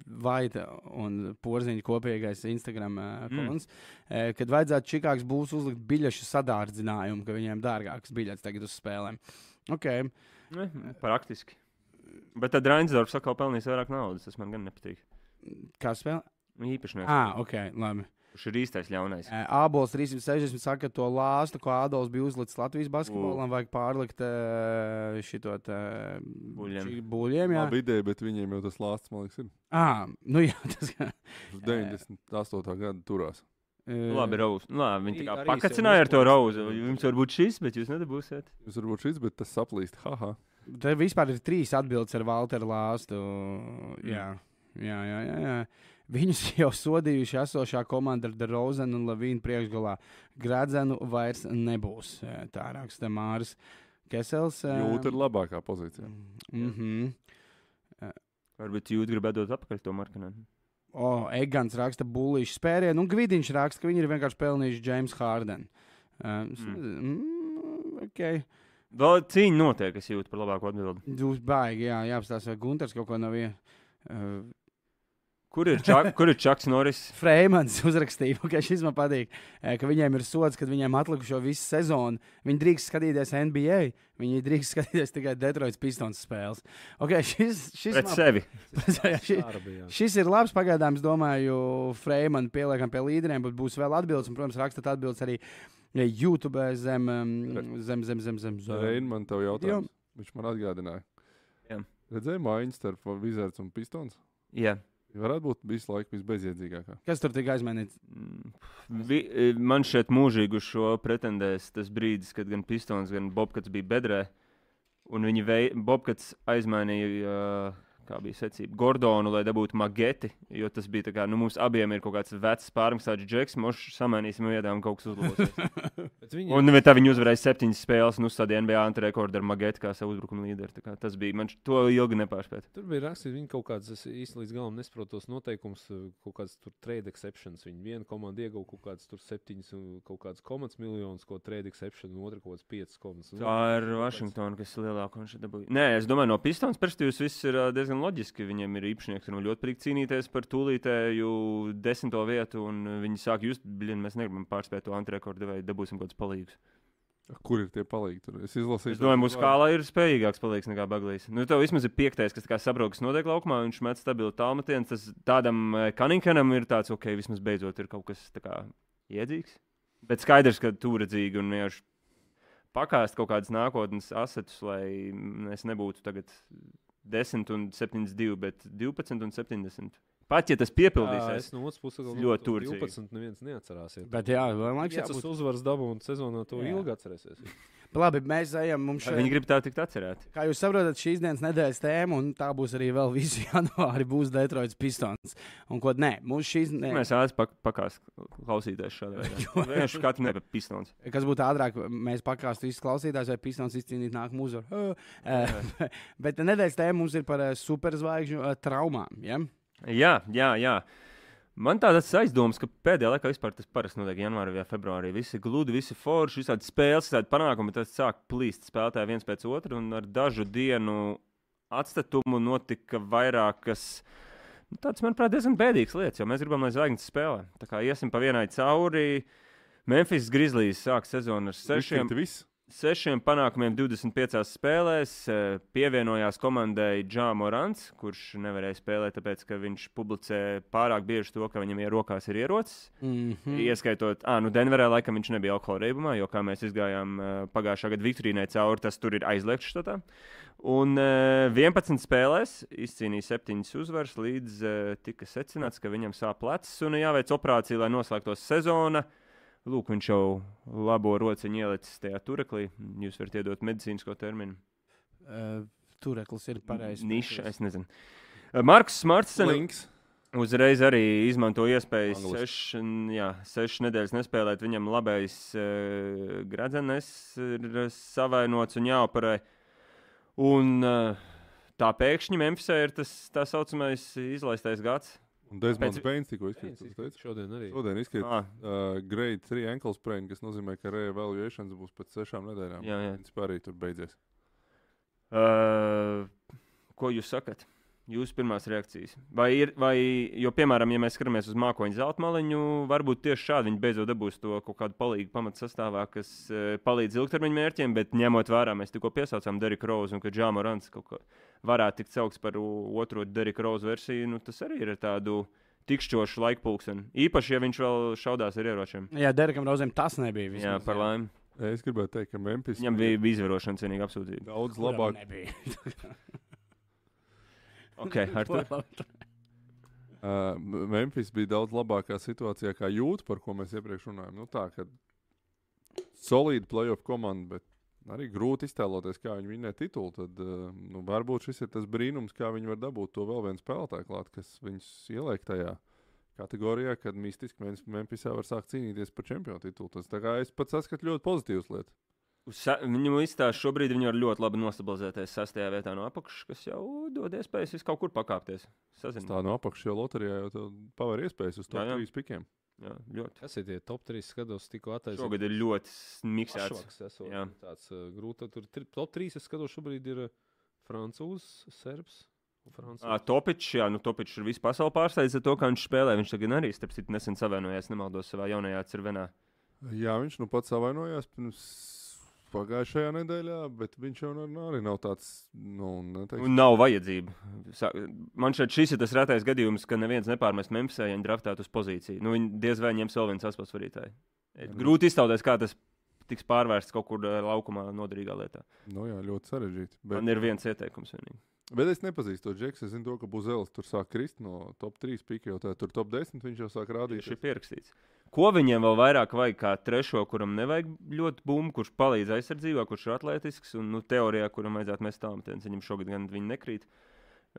Speaker 1: vaita un porziņa kopīgais Instagram eh,
Speaker 2: Mm.
Speaker 1: konts. Mm. Kad vajadzētu čikāks būs uzlikt biļešu sadārdzinājumu, ka viņiem dārgāks biļets tagad uz spēlēm. Okay.
Speaker 2: Ne, praktiski. Bet tad Rainsdorfs saka, ka pelnīs vairāk naudas. Tas man gan nepatīk.
Speaker 1: Kā spēlē?
Speaker 2: Īpašnieks,
Speaker 1: Ah, ok, labi.
Speaker 2: kurš ir īstais ļaunais.
Speaker 1: Ē, Ābols 360 saka, ka to lāstu, ko Ādols bija uzlicis Latvijas basketbolam, vajag pārlikt ē, šito te,
Speaker 2: Buļļiem.
Speaker 1: šī buļļiem. Jā,
Speaker 3: Labi ideja, bet viņiem jau tas lāsts, man liekas, ir.
Speaker 1: à, nu jā, tas ir.
Speaker 3: 98. gada turās.
Speaker 2: Labi, Rose. Nu, Labi, viņi
Speaker 4: Arī-
Speaker 2: tā kā
Speaker 4: arī
Speaker 2: pakacināja ar
Speaker 4: sev
Speaker 2: to
Speaker 4: uzklāst.
Speaker 2: Rose. Jums var būt šis, bet jūs nedabūsiet.
Speaker 3: Jūs varbūt šis, bet tas saplīst. Haha.
Speaker 1: Tur vispār ir trīs atbildes ar Walteru Lāstu. Jā,
Speaker 3: Mm.
Speaker 1: jā, jā. jā, jā. Viņus jau sodījuši esošā komanda ar Rozenu un Lavīnu priekšgalā. Gradzenu vairs nebūs. ē, Tā raksta Māris Kesels. ē,
Speaker 3: Jūta ir labākā pozīcijā.
Speaker 1: Mhm.
Speaker 2: Varbūt jūs gribat dot atpakaļ to markanē.
Speaker 1: O, Egants raksta buļbuļs spērienu, un Gvidiņš raksta, ka viņi ir vienkārši pelnījuši James Hardenu. Um, mm. mm, okay.
Speaker 2: Vēl cīņa notiek, kas jūt par labāko atbildi.
Speaker 1: Jūs baigi, jā, jāapstāsta, vai Gunārs kaut ko nav ierakstīts. Uh,
Speaker 2: Kur ir, čak, kur ir Čaks Norris?
Speaker 1: Freemans uzrakstīja, ka šis man patīk, eh, ka viņiem ir sots, kad viņiem atlikušo visu sezonu. Viņi drīkst skatīties NBA, viņi drīkst skatīties tikai Detroitas pistons spēles. Okay, šis, šis,
Speaker 2: Pret
Speaker 1: man,
Speaker 2: sevi.
Speaker 1: šis,
Speaker 4: bija.
Speaker 1: Šis ir labs. Pagaidām, es domāju, Freeman pieliekam pie līderiem, bet būs vēl atbildes. Un, protams, rakstot atbildes arī ja, YouTube zem, em, zem, zem, zem, zem.
Speaker 3: Reini,
Speaker 1: zem.
Speaker 3: man tev jautājums. Viņš man atgādināja.
Speaker 2: Jā.
Speaker 3: Redzēju, mājiņa starp Vizards un Pistons.
Speaker 2: Jā.
Speaker 3: Varētu būt visu laiku visbeidziedzīgākā.
Speaker 1: Kas tur tika aizmainīts?
Speaker 2: Mm, Vi, man šeit mūžīgi uz šo pretendēs tas brīdis, kad gan Pistons, gan Bobkats bija bedrē. Un viņi vei, Bobkats aizmainīja, uh, kā bija secība, Gordonu, lai dabūtu mageti. Jo tas bija tā kā, nu, mums abiem ir kaut kāds vecs pārmaksāts džeks, mošs samainīsim viedām, kaut kas uzlabosies.
Speaker 4: Viņam
Speaker 2: un tā viņi uzvarēja septiņas spēles, nu, tad NBA antirekordu ar mageti kā savu uzbrukumu līderi. Tā kā Tas bija, man š- to ilgi nepārspēt.
Speaker 4: Tur bija rakstīts, viņi kaut kādas, es īsti līdz galam nesaprotu tos noteikumus, eh, kaut kādas tur trade exceptions. Viņi viena komanda ieguva kaut kādas tur septiņas, un kaut kādas komandas miljonus, ko trade exception, un otra kaut kādas piecas Nu, komandas.
Speaker 2: Tā ir Vašingtona, kas ir lielāka un šeit dabūja. Nē, es domāju, no Pistons perspektīvas viss ir ā, diezgan loģiski. Viņiem ir īpašnieks, kuriem ļoti prīk cīnīties par tūlītēju desmito vietu, un viņi sāk just, blin, mēs negribam pārspēt to antirekordu vai dabūsim kaut kādus palīgus.
Speaker 3: Kur ir tie palīgi? Tur? Es izlasīju.
Speaker 2: Es domāju, mūsu kālā ir spējīgāks palīgs nekā Baglīs. Nu, tev vismaz ir piektais, kas tā kā sabrauks notiek laukumā, un viņš met stabilu tālmetienu. Tas tādam Kaninkenam ir tāds, ok, vismaz beidzot ir kaut kas tā kā iedzīgs. Bet skaidrs, ka tūredzīgi un vienkārši pakāst kaut kādas nākotnes asetus, lai mm, es nebūtu tagad 10 un 72, bet 12 un 70. Pat ja tas piepildīsies,
Speaker 4: Es no otras puses
Speaker 2: Es ļoti
Speaker 4: tur
Speaker 2: turcīgi.
Speaker 4: 12. Neviens neatcerās.
Speaker 1: Bet, jā, man liekas,
Speaker 4: Piecas
Speaker 1: jābūt.
Speaker 4: uzvaras dabū un sezonā to
Speaker 1: Jā.
Speaker 4: ilgi atcerēsies.
Speaker 1: Labi, mēs ejam. Mums
Speaker 2: tad viņi
Speaker 1: šeit,
Speaker 2: grib tā tikt atcerēti.
Speaker 1: kā jūs saprotat, šīs dienas nedēļas tēma, un tā būs arī vēl visu janvāri, būs Detroitas pistons. Un ko nē, mums šīs
Speaker 2: Mēs
Speaker 1: nedēļas.
Speaker 2: ātri pak pakāst klausīties šādā veidā. Vienkārši katru nepa pistons.
Speaker 1: Kas būtu ātrāk, mēs pakāstu visus klausītājus, vai pistons izcīnīt nākamu uzvaru. Eh, Bet nedēļas tēma mums ir par eh, superzvaigžņu eh, traumām. Ja?
Speaker 2: Jā, jā, jā. Man tādas aizdomas, ka pēdējā laikā vispār tas parasti notiek janvārī vai februārī. Visi gludi, visi forši, visādi spēles, visādi panākumi. Tas sāk plīst spēlētāji viens pēc otra, un ar dažu dienu atstatumu notika vairākas. nu, Tāds, manuprāt, diezgan bēdīgs lietas, jo mēs gribam, lai zvaigznes spēlē. Tā kā iesim pa vienai cauri. Memphis Grizzlies sāk sezonu ar
Speaker 3: Sešiem
Speaker 2: sešiem.
Speaker 3: tas viss.
Speaker 2: sešiem panākumiem 25 spēlēs eh, pievienojās komandai Džāns Morants, kurš nevarēja spēlēt, tāpēc ka viņš publicē pārāk bieži to, ka viņam ir rokās ir ierocis. Mm. Ieskaitot, ah, nu, Denverā laikam viņš nebija alkohola reibumā, jo kā mēs gājām eh, pagājušā gada Viktorīnai cauri, tas tur ir aizliegts štatā. Un eh, 11 spēlēs izcīnīja 7 uzvaras, līdz eh, tika secināts, ka viņam sāp plecs un jāveic operācija, lai noslēgtos sezona. Lūk, viņš jau labo rociņu ielicis tajā turaklī. Jūs varat iedot medicīnisko terminu.
Speaker 1: Uh, Tureklis ir pareizs.
Speaker 2: Niša, es nezinu. Eh, Marks Smartsons
Speaker 3: Links.
Speaker 2: Uzreiz arī izmanto iespēju
Speaker 3: Angliski.
Speaker 2: sešu seš nedēļas nespēlēt. Viņam labais uh, gradzenes ir savainots un jāoperē. Un uh, tā pēkšņi Memphisē ir tas tā saucamais izlaistais gads.
Speaker 3: Un Desmonds
Speaker 2: Pēc-
Speaker 3: Pēns tikko izkrīt. tu teici?
Speaker 4: Šodien arī.
Speaker 3: Šodien izkrīt
Speaker 2: Ah,
Speaker 3: uh, grade 3 ankle sprain, kas nozīmē, ka reevaluations būs pēc sešām nedēļām.
Speaker 2: jā, jā.
Speaker 3: Principā arī tur beidzies.
Speaker 2: Uh, ko jūs sakat? Jūsu pirmās reakcijas. Vai ir, vai, jo, piemēram, ja mēs skatāmies uz mākoņu zelta maliņu, varbūt tieši šādi viņi beidzot dabūs to kaut kādu palīdzību pamatsastāvā, kas uh, palīdz ilgtermiņa mērķiem, bet ņemot vērā, mēs tikko piesaucām Deriku Rozu un ka Džāma Rants kaut kā varētu tikt saukts par o- otro Deriku Rozu versiju, nu, tas arī ir tādu tikšķošu laikpulksni. Īpaši, ja viņš vēl šaudās ar ieročiem.
Speaker 1: Jā, Derekam Rozēm tas nebija. Vismaz,
Speaker 2: Jā, par laimi.
Speaker 3: Es gribēju teikt, ka Memphis
Speaker 2: Viņam bija bija izvarošanas vienīga apsūdzība.
Speaker 3: daudz
Speaker 1: Kuram
Speaker 3: labāk.
Speaker 1: nebija.
Speaker 2: Okay, Artur.
Speaker 3: Uh, Memphis bija daudz labākā situācijā, kā jūtas, par ko mēs iepriekš runājām. Nu, tā kā solīda playoff komanda, bet arī grūti iztēloties, kā viņi vinnē titulu. Tad, uh, nu, varbūt šis ir tas brīnums, kā viņi var dabūt to vēl vienu spēlētāju klāt, kas viņus ieliek tajā. Kategorijā, kad mistiski Mem- Memphisā var sākt cīnīties par čempionu titulu. Tas tā kā es pats saskatu ļoti pozitīvas lietas.
Speaker 2: Uz sa- Viņam izstāsta, šobrīd viņi var ļoti labi nostabilizēties sastajā vietā no apakšas, kas jau dod iespējas vis kaut kur pakāpties.
Speaker 3: Tas
Speaker 2: Sazināt.
Speaker 3: Tā no apakšas jau loterijā jau tev paver iespējas uz to
Speaker 2: Jā, jā.
Speaker 3: trīs pikiem.
Speaker 2: Jā, ļoti.
Speaker 4: Kas ir tie top 3 skatos, tikko attaisnots?
Speaker 2: Šogad ir ļoti miksēts.
Speaker 4: Šoks esot
Speaker 2: Jā.
Speaker 4: nu tāds uh, grūts. Tur tri, top 3 es skatos šobrīd ir uh, francūzs, serbs un
Speaker 2: Ā,
Speaker 4: francūzs.
Speaker 2: Topičs, jā, nu Topičs ir visu pasauli pārsteidz ar to, kā viņš spēlē. Viņš tagad arī, starp citu, nesen savainojās, nemaldos savā jaunajā cervenā.
Speaker 3: Jā, viņš nu pats savainojās pirms pagājušajā nedēļā, bet viņš jau nav, arī nav tāds, nu, neteiks,
Speaker 2: Un nav vajadzība. Sā- Man šeit šis ir tas retais gadījums, ka neviens nepārmest Memphisē, ja viņi draftētu uz pozīciju. Nu, viņi diez vai ņems vēl viens atspēlētājs. Grūti iztaujāties, kā tas tiks pārvērsts kaut kur ā, laukumā noderīgā lietā.
Speaker 3: nu, jā, ļoti sarežģīti.
Speaker 2: Man
Speaker 3: Bet,
Speaker 2: ir viens ieteikums vienīgi.
Speaker 3: bet es nepazīstu to džeksu. Es zinu, to, ka Buzelis tur sāk krist no top 3 pika, jo tā tur top 10 viņš jau sāk rādīt.
Speaker 2: Tieši ir pierakstīts. Ko viņiem vēl vairāk vajag, kā trešo, kuram nevajag ļoti bumbu, kurš palīdz aizsardzībā, kurš ir atletisks un nu, teorijā, kuram vajadzētu mest tālu metienu, viņam šogad gan viņi nekrīt.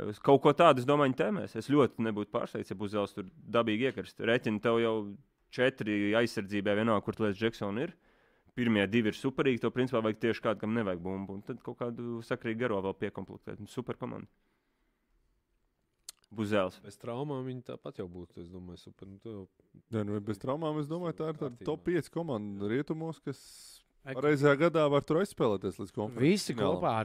Speaker 2: Es kaut ko tādu, es domāju, tēmēs. Es ļoti nebūtu pārsteigts, ja Buzels tur dabīgi iekarst. Reķina tev jau četri aizsardzībā, vienalga, kur tas Džeksons ir. Pirmie divi ir superīgi, to principā vajag tieši kādam, kam nevajag bumbu. Un tad kaut kādu sakrīgu garo vēl piekomplektēt. Nu, Superkomanda. Buzels.
Speaker 4: Bez traumām viņi tāpat jau būtu. Es domāju, super. Nu, tu jau
Speaker 3: Ja, nu, bez traumām es domāju, tā ir tāda top 5 komanda rietumos, kas
Speaker 1: Ak.
Speaker 3: reizē gadā var tur aizspēlēties līdz konferences.
Speaker 1: Visi
Speaker 3: finālam.
Speaker 1: kopā ar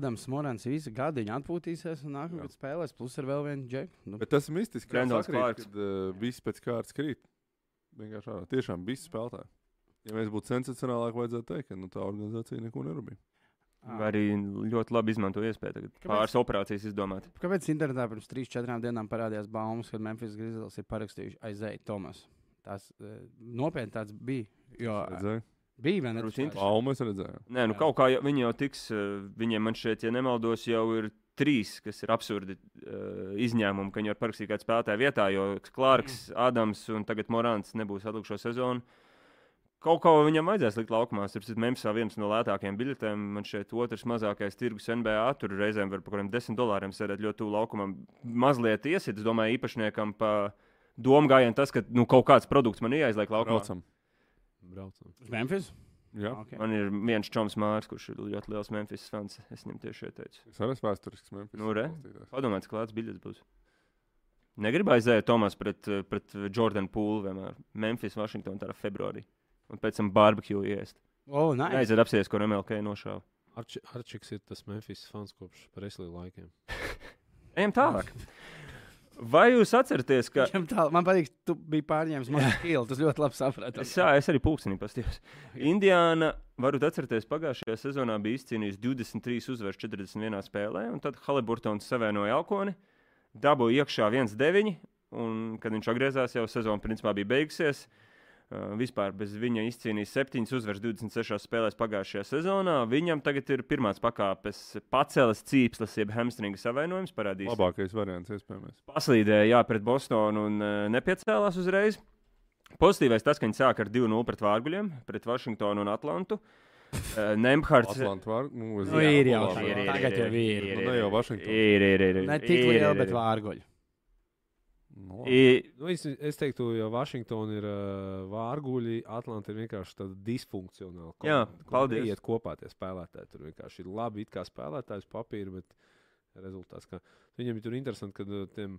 Speaker 1: Rādams, Morans, visi gadiņi atpūtīsies un nākamā
Speaker 3: Jā.
Speaker 1: gada spēlēs. Plus ar vēl vienu džeku. Nu,
Speaker 3: Bet tas ir mistiski. kā
Speaker 2: Randalls
Speaker 3: sakrīt,
Speaker 2: Clarks.
Speaker 3: Kad uh, viss pēc kārtas krīt. Vienkārši ārā. Tiešām viss spēlētāji. Ja mēs būtu sensacionālāk, vajadzētu teikt, ka nu, tā organizācija neko nerūpīja.
Speaker 1: ā.
Speaker 2: Vai arī ļoti labi izmanto iespēju tagad
Speaker 1: Kāpēc?
Speaker 2: pāris operācijas izdomāt.
Speaker 1: Kāpēc internetā pirms 3-4 dienām parādījās baumas, ka Memphis Grizzlies ir parakstījuši aizēju Tomas? Tas eh, nopietni tāds bija. Jo eh,
Speaker 3: Redzēju.
Speaker 1: bija viena
Speaker 2: Varbūt interesanti.
Speaker 3: Au, mēs redzējām.
Speaker 2: Nē, nu
Speaker 1: Jā.
Speaker 2: kaut kā jau, viņi jau tiks, eh, viņiem man šeit, ja nemaldos, jau ir trīs, kas ir absurdi eh, izņēmumi, ka viņi var parakstīt kādu spēlētāju vietā, jo Klārks, Adams un tagad Morants nebūs atlikušo sezonu. Kaut ko viņam vajadzēs likt laukumā. Tur ir Memphis viens no lētākajiem biļetēm. Man šeit otrs mazākais tirgus NBA. Tur reizēm var par kaut kādiem desmit dolāriem sēdēt ļoti tuvu laukumam. Mazliet iesiet, es domāju, īpašniekam pa domu gājienu tas, ka nu, kaut kāds produkts man ir jāizliek laukumā.
Speaker 3: Braucam.
Speaker 4: braucam.
Speaker 1: Uz Memphis?
Speaker 3: Jā,
Speaker 1: Okay.
Speaker 2: Man ir viens čoms Mārcis, kurš ir ļoti liels Memphis fans. Es viņam tieši ieteicu.
Speaker 3: tas arī ir vēsturisks. Memphis
Speaker 2: Nu, re.
Speaker 3: atbalstītājs.
Speaker 2: Padomājiet, kāds biļets būs. Negribēju aizēt Tomas pret, eh, pret Jordanu Pūlu vienmēr. Memphis, Vašingtonā tā ir februārī. Un pēc tam barbecue iest.
Speaker 1: Oh, nice.
Speaker 2: Aiziet apsies, kur MLK nošāva.
Speaker 4: Arči, Arčiks ir tas Memphis fans kopš Preslī laikiem.
Speaker 2: Ejam tālāk. Vai jūs atceraties, ka
Speaker 1: Viņam tā- Man patīk, tu biji pārņēmis manu skolu. Tas ļoti labi sapratu.
Speaker 2: Es, jā, es arī pūksteni paskatījos. Indiāna Varu atcerēties, pagājušajā sezonā bija izcīnījis 23 uzvaras 41 spēlē, un tad Haliburtons savienoja Alkoni, dabūja iekšā 1-9, un kad viņš atgriezās, jau sezona principā bija beigusies. Uh, vispār bez viņa izcīnīja 7 uzvaras 26 spēlēs pagājušajā sezonā. Viņam tagad ir pirmās pakāpes pacēlis cīpslis, jeb hamstringa savainojums. Parādīs
Speaker 3: Labākais variants, iespējams.
Speaker 2: paslīdēja jā, pret Bostonu un eh, nepiecēlās uzreiz. Pozitīvais tas, ka viņi sāk ar 2-0 pret Vārguļiem, pret Vašingtonu un Atlantu. Eh, Nemhards.
Speaker 3: Atlantu var, nu, es
Speaker 1: Nu, ir jau
Speaker 3: labāk.
Speaker 1: tā. Tagad jau ir.
Speaker 3: Nu, ne jau Vašingtonu.
Speaker 2: Ir, ir, ir. ir.
Speaker 1: Ne tik
Speaker 2: Ir,
Speaker 1: liela,
Speaker 2: ir,
Speaker 1: bet
Speaker 2: ir.
Speaker 1: vārgoļi.
Speaker 3: Nu, labi.
Speaker 2: I-
Speaker 4: Nu, es, es teiktu, ja Vašingtona ir uh, vārguļi, Atlanta ir vienkārši tāda disfunkcionāla.
Speaker 2: Jā,
Speaker 4: komanda, kur
Speaker 2: paldies.
Speaker 4: Iet kopā tie spēlētāji. Tur vienkārši ir labi it kā spēlētājs papīra, bet rezultāts. Kā... Viņam ir tur interesanti, kad uh, tiem,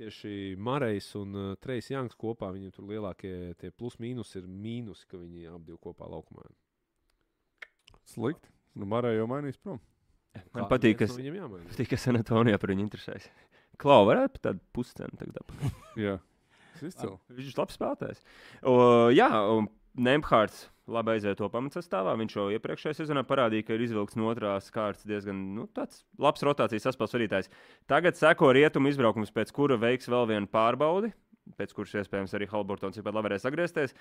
Speaker 4: tieši Marijas un uh, Trejs Janks kopā viņiem tur lielākie tie plus-mínus ir mīnus, ka viņi abi divi kopā laukumā.
Speaker 3: Slikti. Nu, Marē jau mainīs prom.
Speaker 2: Man patīk,
Speaker 4: kas
Speaker 2: kas-
Speaker 4: viņam jāmaina.
Speaker 2: Patīk, ka San Antonijā par viņu interesēs. Klau, varētu pat tādu puscenu tagad dabūt.
Speaker 3: Jā. Tas izcili.
Speaker 2: Viņš ir labs spēlētājs. O, jā, un Nemhārds labi aiziet to pamatsastāvā. Viņš jau iepriekšējā sezonā parādīja, ka ir izvilkts no otrās kārtas diezgan nu, tāds labs rotācijas saspēles vadītājs. Tagad seko rietumu izbraukums, pēc kura veiks vēl vienu pārbaudi. Pēc kuras iespējams arī Halbortons jau pat labi varēs atgriezties.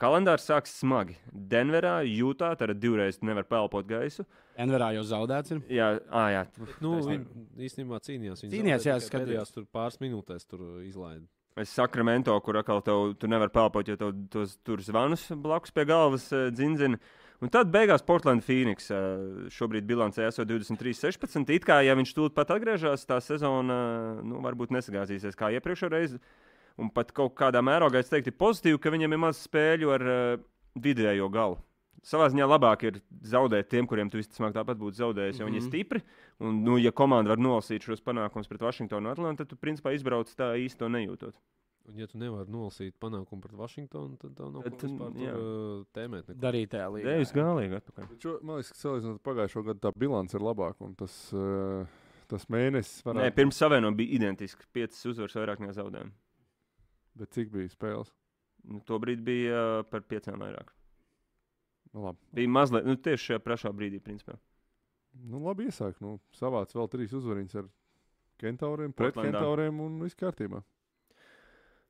Speaker 2: Kalendārs sāks smagi. Denverā, Jūtā, tad divreiz nevar pelpot gaisu.
Speaker 1: Enverā jau zaudēts. Ir.
Speaker 2: Jā, ā, jā
Speaker 4: Nu,
Speaker 2: Taisnība.
Speaker 4: viņi īstenībā cīnījās. Viņi
Speaker 1: Cīnījās,
Speaker 4: zaudēja
Speaker 1: jā,
Speaker 4: tikai
Speaker 1: skatījos.
Speaker 4: pēdējās tur pāris minūtēs tur eh, izlaida.
Speaker 2: Es sakramento, kur atkal tev, tu nevari pelpot, jo tev tos tur zvanus blakus pie galvas eh, dzindzina. Un tad beigās Portland Phoenix eh, šobrīd bilancē esot 23-16. It kā ja viņš tūlīt pat atgriežas, tā sezona eh, nu, varbūt nesagāzīsies kā iepriekšējā reizē. Un pat kaut kādā mērogā es teiktu, ir pozitīvi, ka viņam ir maz spēļu ar eh, vidējo galu. Savā ziņā labāk ir zaudēt tiem, kuriem tu visticamāk tāpat būtu zaudējis, jo mm -hmm. viņi ir
Speaker 1: Mhm.
Speaker 2: stipri. Un, nu, ja komanda var nolasīt šos panākumus pret Vašingtonu un Atlantu, tad tu principā izbrauc tā īsti to nejūtot.
Speaker 4: Un, ja tu nevari nolasīt panākumu pret Vašingtonu, tad tev nav
Speaker 2: Tad,
Speaker 4: ko vispār
Speaker 2: jā.
Speaker 4: tur, uh, tēmēt. neko.
Speaker 1: Darīt tā līnija.
Speaker 2: Dēļas gālīgi atpakaļ.
Speaker 3: Bet šo- Man liekas, ka salīdzinot ar pagājušo gadu, tā bilance ir labāka. un Tas, eh, tas mēnesis
Speaker 2: Nē,
Speaker 3: varētu būt.
Speaker 2: pirms savienojuma bija identiski. Piecas uzvaras vairāk nekā zaudējumi.
Speaker 3: Bet cik bija spēles?
Speaker 2: Nu, Tobrīd bija uh, par piecām vairāk.
Speaker 3: Nu, labi.
Speaker 2: Bija mazliet, nu tieši šajā pašā brīdī, principā.
Speaker 3: Nu, labi iesāk. Nu, savāc vēl trīs uzvariņas ar kentauriem, pret
Speaker 2: Portlandā.
Speaker 3: kentauriem un viss kārtībā.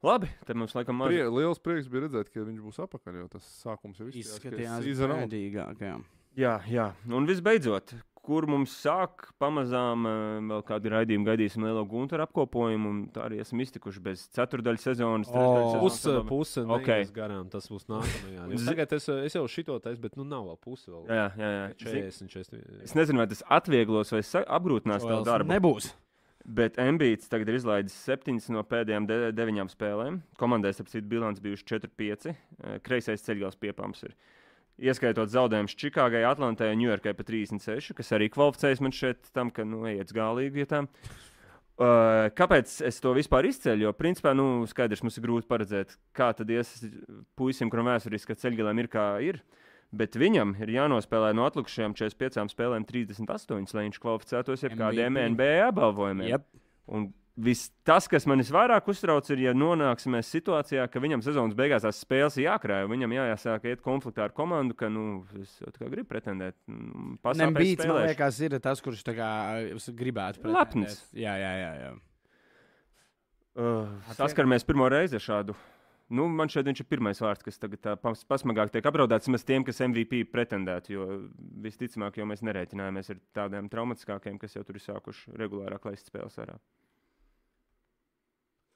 Speaker 2: Labi, tad mums laikam maz.
Speaker 3: Prie, liels prieks bija redzēt, ka viņš būs apakaļ, jo tas sākums jau
Speaker 1: Izskatījās
Speaker 3: izdevies.
Speaker 1: bēdīgāk. jā.
Speaker 2: Jā, jā. Un visbeidzot, kur mums sāk pamazām eh, vēl kādu raidījumu gaidīsim lielo guntu apkopojumu, un tā arī esam iztikuši bez ceturdaļas sezonas.
Speaker 1: O.
Speaker 2: trešdaļas
Speaker 4: Puse,
Speaker 2: sezonas.
Speaker 4: puse
Speaker 2: Ok.
Speaker 4: okay. garām tas būs nākamajā. Jo
Speaker 2: Z-
Speaker 4: Tagad es, uh, es jau šito taisu, bet nu nav vēl pusi. Vēl.
Speaker 2: Jā, jā, jā. Zin-
Speaker 4: 40, 40.
Speaker 2: Es nezinu, vai tas atvieglos vai sa- apgrūtinās
Speaker 1: Joels
Speaker 2: tavu darbu.
Speaker 1: Nebūs.
Speaker 2: Bet Mbīts tagad ir izlaidis septiņas no pēdējām de deviņām spēlēm. Komandai starp citu bilants bijuši 4-5. eh, Kreisais ceļgals piepams ir. Ieskaitot zaudējumus Čikāgai, Atlantai un Ņujorkai pa 36, kas arī kvalificējas man šeit tam, ka nu ejiet gālīgi. Ja tā. Uh, kāpēc es to vispār izceļu? Jo, principā, nu, skaidrs, mums ir grūti paredzēt, kā tad ies puisim, kuram vēsturiski ka ceļgalēm ir kā ir. Bet viņam ir jānospēlē no atlikušajām 45 spēlēm 38, lai viņš kvalificētos jebkādiem
Speaker 1: MVP.
Speaker 2: NBA apbalvojumiem.
Speaker 1: Yep.
Speaker 2: Un viss tas, kas man visvairāk uztrauc, ir, ja nonāksim situācijā, ka viņam sezonas beigās tās spēles ir jākrāj, un viņam jāsāk iet konfliktā ar komandu, ka, nu, es jau tā kā gribu pretendēt. nu, pasāpēs
Speaker 1: Nembīts, man
Speaker 2: spēlēšu.
Speaker 1: liekas, ir tas, kurš tā kā es gribētu.
Speaker 2: Lepns.
Speaker 1: pretendēt. Jā, jā, jā. jā.
Speaker 2: Uh, saskaramies pirmo reizi ar šādu. Nu, man šeit viņš ir pirmais vārds, kas tagad tā pas- pasmagāk tiek apdraudēts. Mēs tiem, kas MVP pretendētu, jo visticamāk, jau mēs nereiķinājāmies ar tādiem traumatiskākiem, kas jau tur ir sākuši regulārāk laist spēles ārā.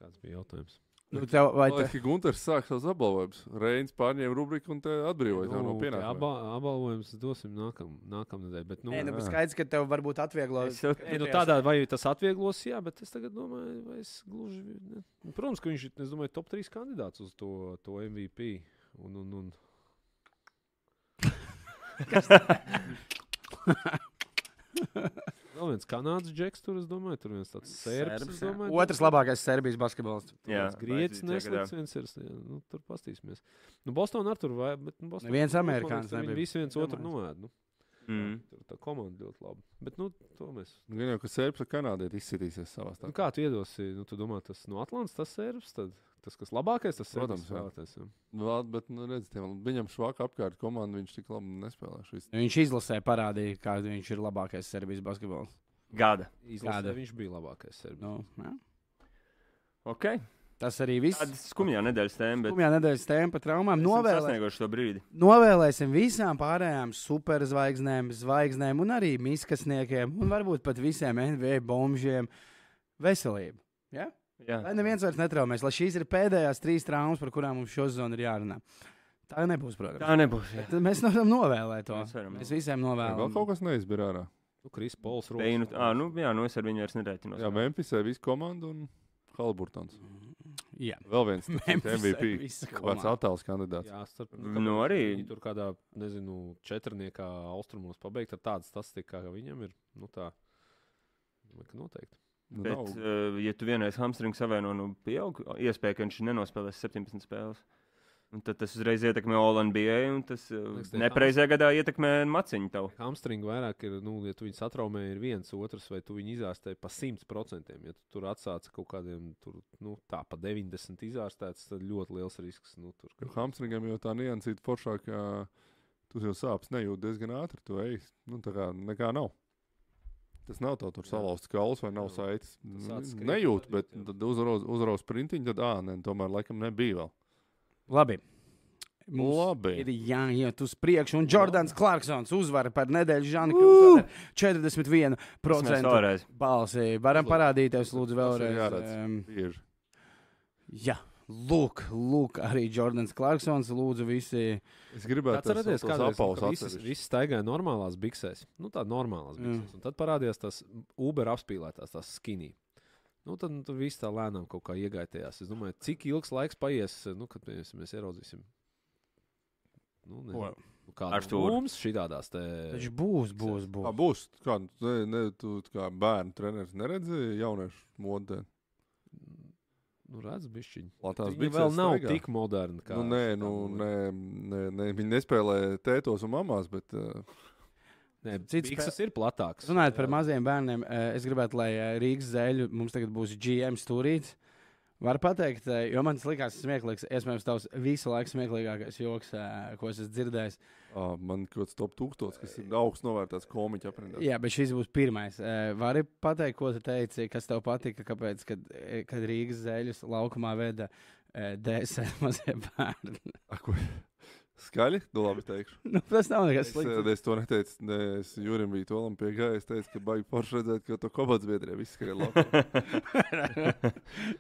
Speaker 4: Kāds bija jautājums?
Speaker 1: Nu, tev, vai
Speaker 3: Lai
Speaker 1: te...
Speaker 3: kā Gunārs sāk savus apbalvojumus, Reins pārņēma rubriku un te atbrīvoja no
Speaker 4: Nu, te
Speaker 3: pienākumiem.
Speaker 4: aba- Apbalvojums dosim nākam- nākamnedēļ. bet, Nu,
Speaker 1: Nē, nu,
Speaker 3: jā.
Speaker 1: skaidrs, ka tev varbūt atvieglos.
Speaker 2: Es jau-
Speaker 4: Nē, Nu, tādā vai tas atvieglos, jā, bet es tagad domāju, vai es gluži. Ne. Nu, Protams, ka viņš ir es domāju, top 3 kandidāts uz to, to MVP. Un, un, un. Vēl viens kanādas džeks, tur es domāju, tur viens tāds serbs.
Speaker 2: Serbs,
Speaker 4: es
Speaker 2: jā.
Speaker 4: domāju,
Speaker 1: Otrs labākais Serbijas basketbolists.
Speaker 2: Jā,
Speaker 4: Jā, grieķis
Speaker 2: vajadzīgs tagad, jā.
Speaker 4: neslēdz viens ir. s- jā, Nu, tur pastīsimies. Nu, Bostonā ar tur vai, bet nu, Bostonā.
Speaker 1: Neviens
Speaker 4: nu,
Speaker 1: amerikānis
Speaker 4: man liekas, tur viņi
Speaker 1: nebija.
Speaker 4: Visi viens otru
Speaker 1: Domāju.
Speaker 4: noēd. Nu.
Speaker 2: Mm.
Speaker 4: Tur tā komanda ļoti labi. Bet, nu, to mēs.
Speaker 3: Gan jau, ka Sērbs ar Kanādieti izsitīsies savā
Speaker 4: Nu,
Speaker 3: starpā.
Speaker 4: kā tu iedosi? Nu, tu domā, tas no Atlantijas tas serbs, tad tas, kas labākais, tas
Speaker 3: Protams, jā.
Speaker 4: Protams, jā.
Speaker 3: Vēl, bet, nu, redz, tiem, viņam švaka apkārt komanda, viņš tik labi nespēlē. Šis.
Speaker 1: Nu, Viņš izlasē parādīja, kā viņš ir labākais Serbijas basketbols.
Speaker 2: Gada.
Speaker 1: Kāda?
Speaker 4: Izlasē, viņš bija labākais serbs.
Speaker 1: Nu, jā.
Speaker 2: Okay.
Speaker 1: Tas arī viss.
Speaker 2: Tāda skumjā nedēļas tēma, bet
Speaker 1: Skumjā nedēļas tēma par traumām.
Speaker 2: Novēlēt.
Speaker 1: Novēlē,
Speaker 2: sasnieguši to brīdi.
Speaker 1: novēlēsim visām pārējām superzvaigznēm, zvaigznēm un arī miskasniekiem un varbūt pat visiem NBA bombžiem veselību.
Speaker 2: Jā.
Speaker 1: Lai neviens vairs netraumēs, lai šīs ir pēdējās trīs traumas, par kurām mums šodien ir jārunā. Tā nebūs, protams.
Speaker 2: Tā nebūs. jā. nu,
Speaker 1: Bet Mēs varam novēlēt to.
Speaker 2: Mēs varam.
Speaker 1: Mēs visiem
Speaker 3: Jā, vēl kaut
Speaker 1: novēlam.
Speaker 3: kas neizbir ārā.
Speaker 4: Nu, Kris Pols
Speaker 2: Peinu, à, nu, jā, nu es ar viņu vairs nerēķinos.
Speaker 3: Jā, Memphisē visu komandu un Halburtons.
Speaker 1: Jā,
Speaker 3: Vēl viens starp citu,
Speaker 1: Memphisē
Speaker 3: MVP.
Speaker 1: visa
Speaker 3: Kāds
Speaker 1: komanda.
Speaker 3: attēls kandidāts.
Speaker 4: Jā, starp,
Speaker 2: Nu,
Speaker 4: kāpēc
Speaker 2: arī-
Speaker 4: viņi Tur kādā, nezinu, četrniekā austrumos pabeigt ar tādu statistiku, kā viņam ir. Nu, tā. Domāju, ka Noteikti.
Speaker 3: Nu,
Speaker 2: Bet,
Speaker 3: nav-
Speaker 2: uh, ja tu vienreiz hamstringu savieno, nu, pieaug iespēja, ka viņš nenospēlēs 17 spēles. Un tad tas uzreiz ietekmē All-NBA, un tas uh,
Speaker 4: Liekas, tie
Speaker 2: nepareizajā gadā ietekmē maciņu tavu.
Speaker 4: Hamstringi vairāk ir, nu, ja tu viņu satraumē, ir viens otrs, vai tu viņu izārstēji pa 100%. Ja tu tur atsācis kaut kādiem, tur, nu, tā pa 90 izārstēts, tad ļoti liels risks. Nu, tur,
Speaker 3: Nu, Hamstringam jau tā niansīta foršāk, ka tu jau sāpes nejūti diezgan ātri. Tu ej, nu tā kā nekā nav. Tas nav tā, tur
Speaker 4: Jā.
Speaker 3: salauzts kauls vai nav
Speaker 4: Jā.
Speaker 3: saites.
Speaker 4: Tas sāc skriet,
Speaker 3: Nejūt,
Speaker 4: tad
Speaker 3: bet
Speaker 4: jūt, jā.
Speaker 3: tad uzrauz, uzrauz printiņu, tad ā, ne, tomēr laikam nebija vēl.
Speaker 1: Labi. Mums
Speaker 3: Labi.
Speaker 1: Ir jāiet uz priekšu, un Jordans Clarksons uzvara par nedēļu Žanu Krustu. 41%
Speaker 2: Vēlreiz.
Speaker 1: balsi. Varam
Speaker 3: Uzlūk.
Speaker 1: parādīties, lūdzu,
Speaker 3: Tas ir
Speaker 1: vēlreiz.
Speaker 3: jāredz.
Speaker 1: em,
Speaker 3: Bieži.
Speaker 1: Jā, lūk, lūk arī Jordans Clarksons. Lūdzu, visi.
Speaker 3: Es gribētu
Speaker 4: Atcerieties,
Speaker 3: kā
Speaker 4: kāda
Speaker 3: tas apaus
Speaker 4: bija tā līnija.
Speaker 3: atsevišķi.
Speaker 4: nu,
Speaker 3: Mm.
Speaker 4: Visi staigāja normālās biksēs, nu tādas normālas
Speaker 1: Jā.
Speaker 4: biksēs. Un tad parādījās tas Uber apspīlētās, tās skinī. Nu, tad nu, tur viss tā lēnām kaut kā iegaitējās. Es domāju, cik ilgs laiks paies, nu, kad mēs, mēs ieraudzīsim. Nu, nezinu, nu, kāda
Speaker 2: Ar
Speaker 4: no
Speaker 2: stūri.
Speaker 4: mums šī tādās te.
Speaker 1: Taču būs, būs, būs.
Speaker 3: Kā būs? Kā, nu, ne, ne, tu tā kā bērnu treneris neredzēji jauniešu modē.
Speaker 4: Nu, redz, bišķiņ.
Speaker 3: Latās
Speaker 4: Viņa vēl nav staigā. tik moderna. Kā,
Speaker 3: Nu, nē,
Speaker 4: kā
Speaker 3: nu,
Speaker 4: mums.
Speaker 3: nē, nē, nē, viņi nespēlē tētos un mamās, bet uh,
Speaker 4: nē
Speaker 1: Cits
Speaker 4: cits bikses ir platāks.
Speaker 1: Runājot par maziem bērniem, eh, es gribētu, lai eh, Rīgas zēļu mums tagad būs GM stūrīts. Var pateikt, eh, jo man tas likās smieklīgs, iespējams, tavs visu laiku smieklīgākais joks, eh, ko es esmu dzirdējis.
Speaker 3: ah, man kaut kāds top 1000, kas ir augsts novērtēts komiķa aprindā.
Speaker 1: Jā, bet šis būs pirmais. Eh, Vari pateikt, ko tu teici, kas tev patika, kāpēc, kad, eh, kad Rīgas zēļus laukumā veda eh, DSL mazie bērni?
Speaker 3: A, ko- Skaļi, nu labi, teikšu.
Speaker 1: nu, tas nav nekas
Speaker 3: Es, eh,
Speaker 1: slikts.
Speaker 3: es to neteicu, ne, es Jurim biju tolam pie gājas, teicu, ka baigi forši redzēt, ka to komandas biedrē viss skrien labi.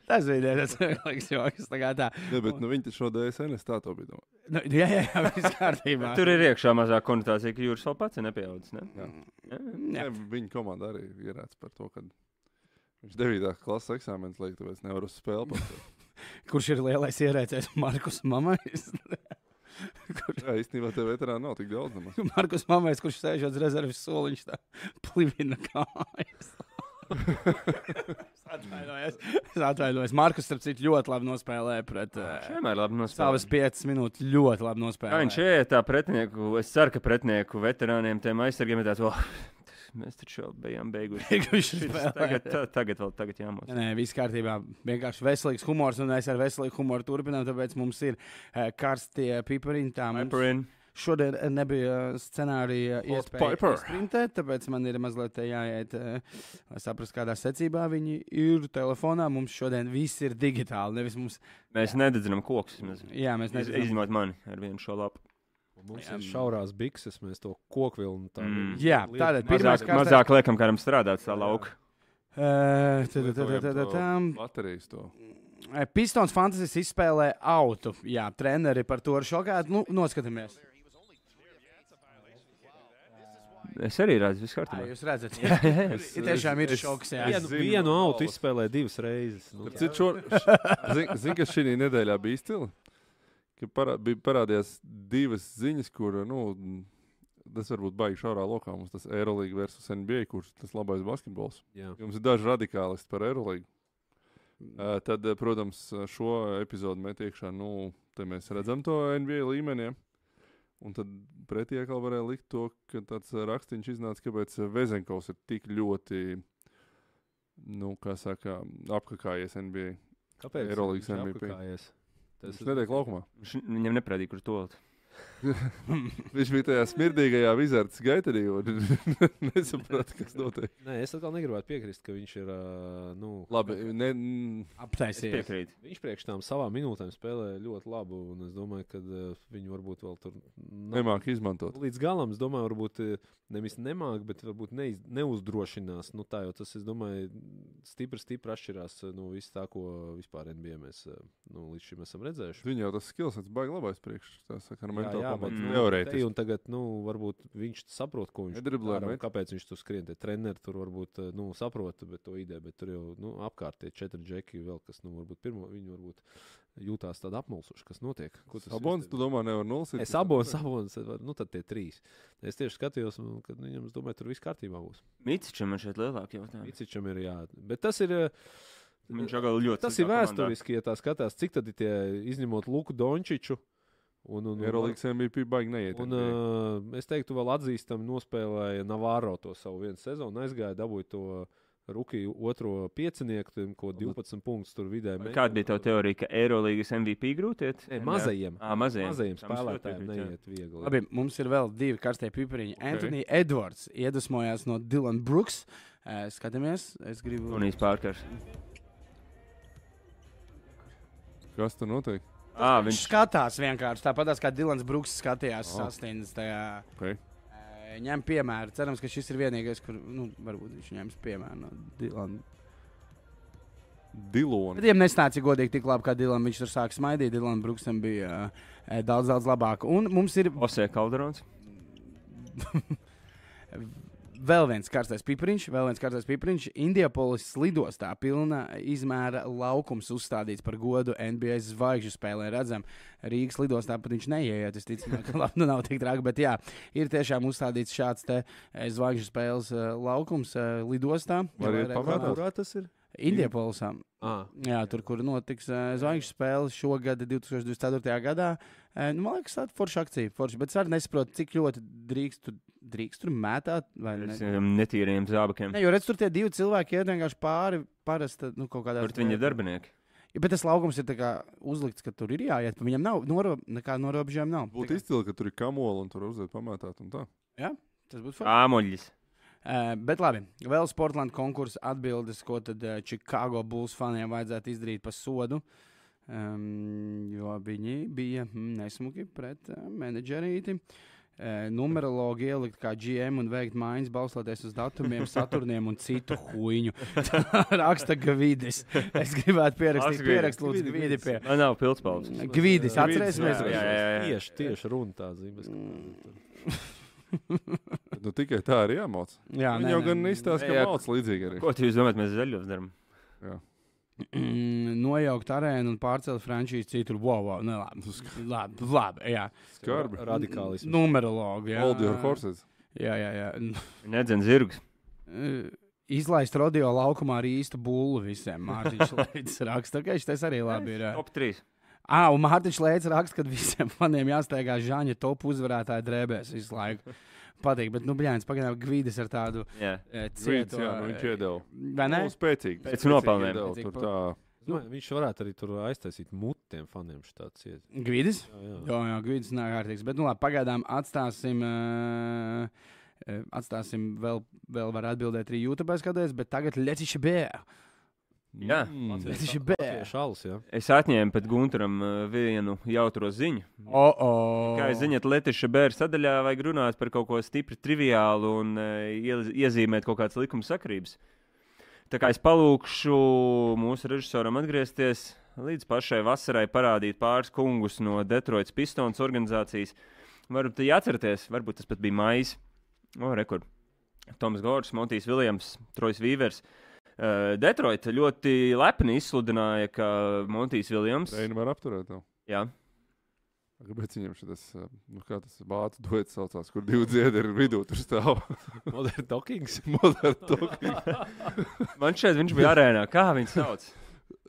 Speaker 1: tas bija tas smieklīgs joks. tā kā tā.
Speaker 3: Ne, bet, nu, viņi taču no DSN, es tā to biju domājis.
Speaker 1: Nu, jā, jā, jā, viss kārtībā.
Speaker 2: Tur ir iekšā mazā konotācija, ka jūras vēl pats ir nepieaudzis. Ne?
Speaker 1: Mm. Jā.
Speaker 3: Ne, Viņa komanda arī ierāca par to, ka viņš 9. klases eksāmenus liek, tāpēc nevar uz spēli pateikt.
Speaker 1: Kurš ir lielais ierēcējs? Markus Mamais.
Speaker 3: Jā, īstenībā te veterāni nav tik daudz. Nemaz.
Speaker 1: Markus Mamais, kurš sēž uz rezerves soliņš, tā plivina kājas. es atvainojos. Es atvainojos. Markus, starp citu, ļoti labi nospēlēja pret
Speaker 2: Viņš
Speaker 1: uh,
Speaker 2: vienmēr labi
Speaker 1: savas
Speaker 2: nospēlēja.
Speaker 1: 5 minūtes. Ļoti labi
Speaker 2: Jā, viņš
Speaker 1: nospēlēja.
Speaker 2: ir nu, tā pretinieku, es ceru, ka pretinieku veterāniem, tiem aizsargiem ir tāds, oh, mēs taču jau bijām beiguši.
Speaker 1: Viņš
Speaker 2: Šis Tagad, tā, tagad vēl tagad jāmācās.
Speaker 1: Nē, viss kārtībā. Vienkārši veselīgs humors, un mēs ar veselīgu humoru turpinām. Tāpēc mums ir uh, karstie pipariņi. tā mums-
Speaker 2: Piperin.
Speaker 1: Šodien eh, nebija scenārija
Speaker 3: Hot
Speaker 1: iespēja
Speaker 3: Piper.
Speaker 1: sprintēt, tāpēc man ir mazliet te jāiet, eh, lai saprastu, kādā secībā viņi ir telefonā. Mums šodien viss ir digitāli, nevis mums,
Speaker 2: Mēs nededzinām kokus. Mēs
Speaker 1: jā, mēs nezinām.
Speaker 2: izņemot mani ar vienu šo lapu.
Speaker 4: Mums
Speaker 1: Jā.
Speaker 4: ir šaurās bikses, mēs to koku vilnu tā. nu
Speaker 2: Mm.
Speaker 1: Jā,
Speaker 4: liekam.
Speaker 1: tātad pirmā
Speaker 2: Mazāk, mazāk liekam, kādam strādāt tā lauka.
Speaker 1: Eh, kārta.
Speaker 3: Baterijas to.
Speaker 1: Eh, Pistons Fantasijas izspēlē autu. Jā, treneri par to ir šokāti. Nu, noskatāmies.
Speaker 2: Es arī redzu, viss
Speaker 1: Ai,
Speaker 2: kārtībā.
Speaker 1: jūs redzat,
Speaker 2: Jā,
Speaker 1: jā.
Speaker 2: jā, jā.
Speaker 3: Es-
Speaker 1: Ir tiešām ir
Speaker 3: es-
Speaker 1: šoks.
Speaker 3: es
Speaker 1: Jā.
Speaker 4: Vienu,
Speaker 3: zinu
Speaker 4: vienu
Speaker 3: no
Speaker 4: autu
Speaker 3: galvas.
Speaker 4: izspēlēja divas reizes. Nu,
Speaker 3: Cits šo, š- zin, zin, kas šī nedēļā bija izcili, ka parā, bija parādījās divas ziņas, kur, nu, m, tas varbūt baigi šaurā lokā mums tas Eirolīga versus NBA, kurš tas labais basketbols.
Speaker 4: jā.
Speaker 3: Jums ir daži radikālisti par Eirolīgu. Uh, tad, eh, protams, eh, šo epizodu mēs iekšā, nu, te mēs redzam to NBA līmenī. ja. Un tad pretī atkal varēja likt to, ka tāds eh, rakstīns iznāca, kāpēc eh, Vezenkovs ir tik ļoti, nu, kā saka, apkakājies NBA.
Speaker 4: Kāpēc?
Speaker 3: Eirolīgas
Speaker 4: viņš
Speaker 3: MVP?
Speaker 4: apkakājies?
Speaker 3: Tas
Speaker 4: ir-
Speaker 3: viņš netiek laukumā.
Speaker 2: Viņš viņam neprādīja, kur to lietot.
Speaker 3: Viņš bija tajā smirdīgajā vizardas gaitā, un nesaprata, kas notiek.
Speaker 4: Nē, es atkal negribētu piekrist, ka viņš ir. ā, Nu,
Speaker 3: Labi, ne, n-
Speaker 2: Es
Speaker 1: Aptaisies.
Speaker 2: piekrītu.
Speaker 4: Viņš priekš tam savām minūtēm spēlēja ļoti labu, un es domāju, ka viņi varbūt vēl tur nav
Speaker 3: nemāk izmantot.
Speaker 4: Līdz galam, es domāju, varbūt eh, nevis nemāķi, bet varbūt neiz, neuzdrošinās. Nu, tā jau tas, es domāju, stipri, stipri atšķirās eh, no viss tā, ko vispār NBA mēs eh, nu, līdz šim esam redzējuši.
Speaker 3: Viņam jau tas skills, tas baigs labais priekšstats, tā saka, ar
Speaker 4: Jā,
Speaker 3: mentālu
Speaker 4: jā, bet,
Speaker 3: pamatu.
Speaker 4: nu, te
Speaker 3: Teorētiski.
Speaker 4: un tagad, nu, varbūt viņš saprot, ko viņš
Speaker 3: Nedriblē,
Speaker 4: dara un
Speaker 3: bet-
Speaker 4: kāpēc viņš tur skrien. Tie treneri tur varbūt eh, nu, saprot bet to ideju, bet tur jau nu, apkārt tie četri džeki, vēl, kas nu, varbūt pirmo viņi varbūt jūtās tādi apmulsuši, kas notiek. Ko tas
Speaker 3: Abons,
Speaker 4: sistēma-
Speaker 3: tu domā, nevar nolasīt?
Speaker 4: Es abos, abos, nu tad tie trīs. Es tieši skatījos, un, kad nu, viņam, es domāju, tur viss kārtībā būs.
Speaker 2: Mīcičam ir šeit lielāka jautājuma.
Speaker 4: Vicičam ir jā, bet tas ir. eh,
Speaker 2: Viņš jau ļoti.
Speaker 4: Tas
Speaker 2: sliktā
Speaker 4: ir
Speaker 2: komandā.
Speaker 4: vēsturiski, ja tā skatās, cik tad ir tie izņemot Luku Dončiču. Un, un, un,
Speaker 3: Eirolandes MVP baigi neiet.
Speaker 4: nu, un,
Speaker 3: NBA.
Speaker 4: uh, es teiktu, vēl atzīstami nospēlēja Navāro to savu vienu sezonu, aizgāja dabūju to Rukiju otro piecinieku, tam, ko 12 punktus tur vidēji.
Speaker 2: Vai
Speaker 4: meklē.
Speaker 2: Kāda bija tā teorija, ka Eirolandes MVP grūtiet?
Speaker 4: Nē, Mazajiem.
Speaker 2: À, mazajiem.
Speaker 4: Mazajiem
Speaker 2: Tam es ļoti
Speaker 4: spēlētājiem
Speaker 2: piekrītu, jā.
Speaker 4: neiet viegli.
Speaker 1: Labi, mums ir vēl divi karstie pipariņi.
Speaker 2: Ok.
Speaker 1: Okay. Antonius Edvards iedvesmojās no Dilana Brooks. Eh, Skatāmies, es gribu.
Speaker 2: Un īstenībā Parkers.
Speaker 3: Kas tur notiek?
Speaker 2: Ah,
Speaker 1: Viņš
Speaker 2: viņš
Speaker 1: skatās vienkārši tāpat, kā Dilans Brooks skatījās
Speaker 3: Oh.
Speaker 1: oh. sastāvdaļā. tajā.
Speaker 3: Okay.
Speaker 1: Eh, Ņem piemēru. Cerams, ka šis ir vienīgais, kur nu, varbūt viņš ņems piemēru no Dilana. Bet
Speaker 3: Diloni.
Speaker 1: viņam nesnāca godīgi tik labi, kā Dilans. Viņš tur sāka smaidīt. Dilans Brooksam bija eh, daudz, daudz labāk. Un mums ir
Speaker 2: Osē Kalderons.
Speaker 1: Vēl viens karstais pipariņš, vēl viens karstais pipariņš. Indiapolis lidostā pilna izmēra laukums uzstādīts par godu NBA zvaigžņu spēlē. Redzam, Rīgas lidostā pat viņš neieiet. Es ticu, ka labi, nu nav tik traki, bet jā, ir tiešām uzstādīts šāds te eh, zvaigžņu spēles eh, laukums eh, lidostā.
Speaker 3: Var iet
Speaker 1: Lai
Speaker 3: pavēdāt?
Speaker 1: reklamētu.
Speaker 4: Kurā tas ir?
Speaker 1: Indiepolisā.
Speaker 4: Ah,
Speaker 1: Jā, tur, kur notiks uh, zvaigžņu spēle šogad, 2024. gadā. Uh, nu, man liekas, tā ir forša akcija. Forša, bet es arī nesaprotu, cik ļoti drīkst tur, drīkst tur mētāt. Vai
Speaker 2: Ar
Speaker 1: ne?
Speaker 2: saviem um, netīriem zābakiem.
Speaker 1: Ne, jo redz, tur tie divi cilvēki ir vienkārši pāri. Parasti, nu, kaut kādā
Speaker 2: Kur viņa darbinieki?
Speaker 1: Ja, bet tas laukums ir tā kā uzlikts, ka tur ir jāiet. pa Viņam nav noro, nekāda norobežojuma. Nav.
Speaker 3: Būtu izcili, ka tur ir kamola un tur uzliek pamatāt un tā.
Speaker 1: Tas būtu forši.
Speaker 2: Āmoļģis.
Speaker 1: Uh, bet labi, vēl Sportlandes konkursa atbildes, ko tad uh, Chicago Bulls faniem vajadzētu izdarīt par sodu. Um, jo viņi bija mm, nesmuki pret uh, menedžerīti. Uh, numerologi ielikt kā GM un veikt mājas, balstoties uz datumiem, saturniem un citu huīņu. Raksta Gavīdis. Es gribētu pierakstīt,
Speaker 2: Lasi, Gvidis.
Speaker 1: pierakstīt, lūdzu, Gavīdi pie.
Speaker 2: Man nav pilspalvas.
Speaker 1: Gavīdis,
Speaker 4: Jā,
Speaker 1: atcerēsimies.
Speaker 2: jā, jā, jā. Mm.
Speaker 4: Tieši, tieši runa tā zīmēs.
Speaker 3: Bet, Nu, tikai tā arī jāmāc.
Speaker 1: Jā,
Speaker 3: Viņa jau gan izstāsta,
Speaker 2: Nē, jā.
Speaker 3: ka māc līdzīgi arī.
Speaker 2: Ko tu jūs domājat, mēs zaļos darām?
Speaker 1: Mm, nojaukt arēnu un pārcelt frančīzi citur. Wow, wow, ne, labi, labi, labi, jā.
Speaker 3: Skarbi.
Speaker 4: Radikālisms.
Speaker 2: Nu,
Speaker 1: Numerologi. Jā,
Speaker 3: Hold your horses.
Speaker 1: Jā, jā, jā. N-
Speaker 2: Nedzēn zirgus.
Speaker 1: e, Izlaist rodeo laukumā ar īstu būlu visiem. Mārtiņš Leicis raksta, ka šis arī labi ir.
Speaker 2: Top 3.
Speaker 1: Ā, un Mārtiņš Leicis raksta, ka visiem faniem jāsteigā žāņa top uzvarētāja drēbēs visu laiku. Patīk, bet, nu, bļāns, pagaidām gvīdis ar tādu
Speaker 2: Jā.
Speaker 1: e,
Speaker 3: Cits,
Speaker 1: cietu.
Speaker 3: jā, nu viņš
Speaker 1: e,
Speaker 3: iedeva.
Speaker 1: Vai ne?
Speaker 3: Nu, spēcīgi.
Speaker 2: Pēc
Speaker 3: spēcīgi
Speaker 2: nopelniem.
Speaker 3: iedeva
Speaker 1: Spēcīgi
Speaker 3: Tur
Speaker 1: pa-
Speaker 3: tā.
Speaker 4: Nu, viņš varētu arī tur aiztaisīt mutiem faniem šāds iet.
Speaker 1: Gvīdis?
Speaker 4: Jā, jā.
Speaker 1: Jā, jā grūti nāk ārtīgs. Bet, nu, labi, pagaidām atstāsim. Uh, Atstāsim, vēl, vēl var atbildēt arī YouTube kādreiz, bet tagad Latvijas Banka.
Speaker 2: Jā.
Speaker 3: Mm.
Speaker 1: Tas ir bēr.
Speaker 4: Šāls, jā.
Speaker 2: Es atņēmu pat Gunteram uh, vienu jautro ziņu.
Speaker 1: Oh, oh.
Speaker 2: Kā jūs zināt, Latvijas bērnu sadaļā vajag runāt par kaut ko stipri triviālu un eh, iel- iezīmēt kaut kādas likuma sakrības. Tā kā es palūkšu mūsu režisoram atgriezties līdz pašai vasarai, parādīt pāris kungus no Detroitas Pistons organizācijas. Varbūt jūs atceraties, varbūt tas pat bija maijs. O, rekord. Toms Gorčs, Montijs Viljams, Trojs Vīvers. Eh, Detroita ļoti lepni izsludināja, ka Montijs Viljams.
Speaker 3: Reini var apturēt tev.
Speaker 2: Jā,
Speaker 3: Kāpēc viņam šis, nu, kā tas vācu duets saucās, kur divi dziedi ir vidū, tur stāv
Speaker 4: Modern Talkings.
Speaker 3: moderns toks.
Speaker 2: man šeit viņš bija arēnā. Kā viņš sauc?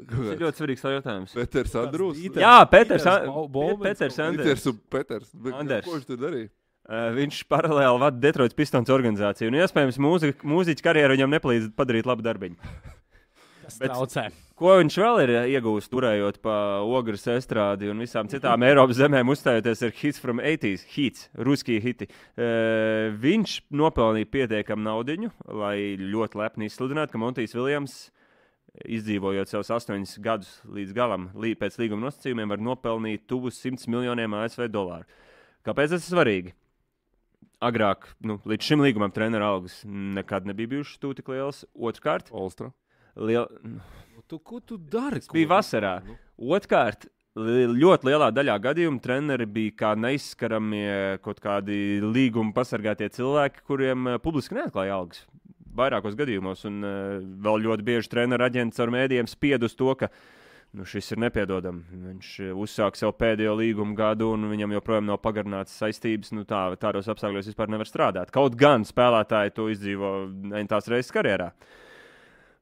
Speaker 2: Tas ir ļoti svarīgs jautājums.
Speaker 3: Peters Andrūs.
Speaker 4: Dīters.
Speaker 2: Jā, Peters.
Speaker 4: Peters
Speaker 2: An-
Speaker 4: Bo-
Speaker 2: Pe-
Speaker 4: Bovins
Speaker 2: Peters
Speaker 4: kaut
Speaker 2: Anders.
Speaker 3: Peters un Peters. Bet,
Speaker 2: Anders.
Speaker 3: Ko viņš tur darīja?
Speaker 2: Uh, viņš paralēli vada Detroitas pistons organizāciju. Un, iespējams, mūzika- mūziķa karjeru viņam nepalīdz padarīt labu darbiņu.
Speaker 1: Tas
Speaker 2: Bet-
Speaker 1: traucē.
Speaker 2: Ko viņš vēl ir eh, iegūst, turējot pa ogles estrādi un visām citām Eiropas zemēm, uzstājoties ar hits from 80s, hits, ruskī hiti. Uh, viņš nopelnīja pietiekamu naudu, lai ļoti lepni izsludinātu, ka Montijs Viljams, izdzīvojot savus astoņus gadus līdz galam, lī, pēc līguma nosacījumiem, var nopelnīt tuvu 100 miljoniem ASV dolāru. Kāpēc tas ir svarīgi? Agrāk, nu, līdz šim līgumam, treneru algas nekad nebija bijušas tū tik lielas. Otrkārt,
Speaker 3: Olstra.
Speaker 2: liel,
Speaker 4: Nu, tu, ko tu dari?
Speaker 2: bija vasarā.
Speaker 4: Nu,
Speaker 2: Otrkārt, li- ļoti lielā daļā gadījumu treneri bija kā neizskaramie kaut kādi līguma pasargātie cilvēki, kuriem eh, publiski neatklāja algas. Vairākos gadījumos, un eh, vēl ļoti bieži treneru aģents ar mēdījiem spied uz to, ka nu, šis ir nepiedodami. Viņš eh, uzsāk sev pēdējo līguma gadu, un viņam joprojām nav pagarināts saistības. Nu, tā, tādos apstākļos vispār nevar strādāt. Kaut gan spēlētāji to izdzīvo ne tās reizes karjerā.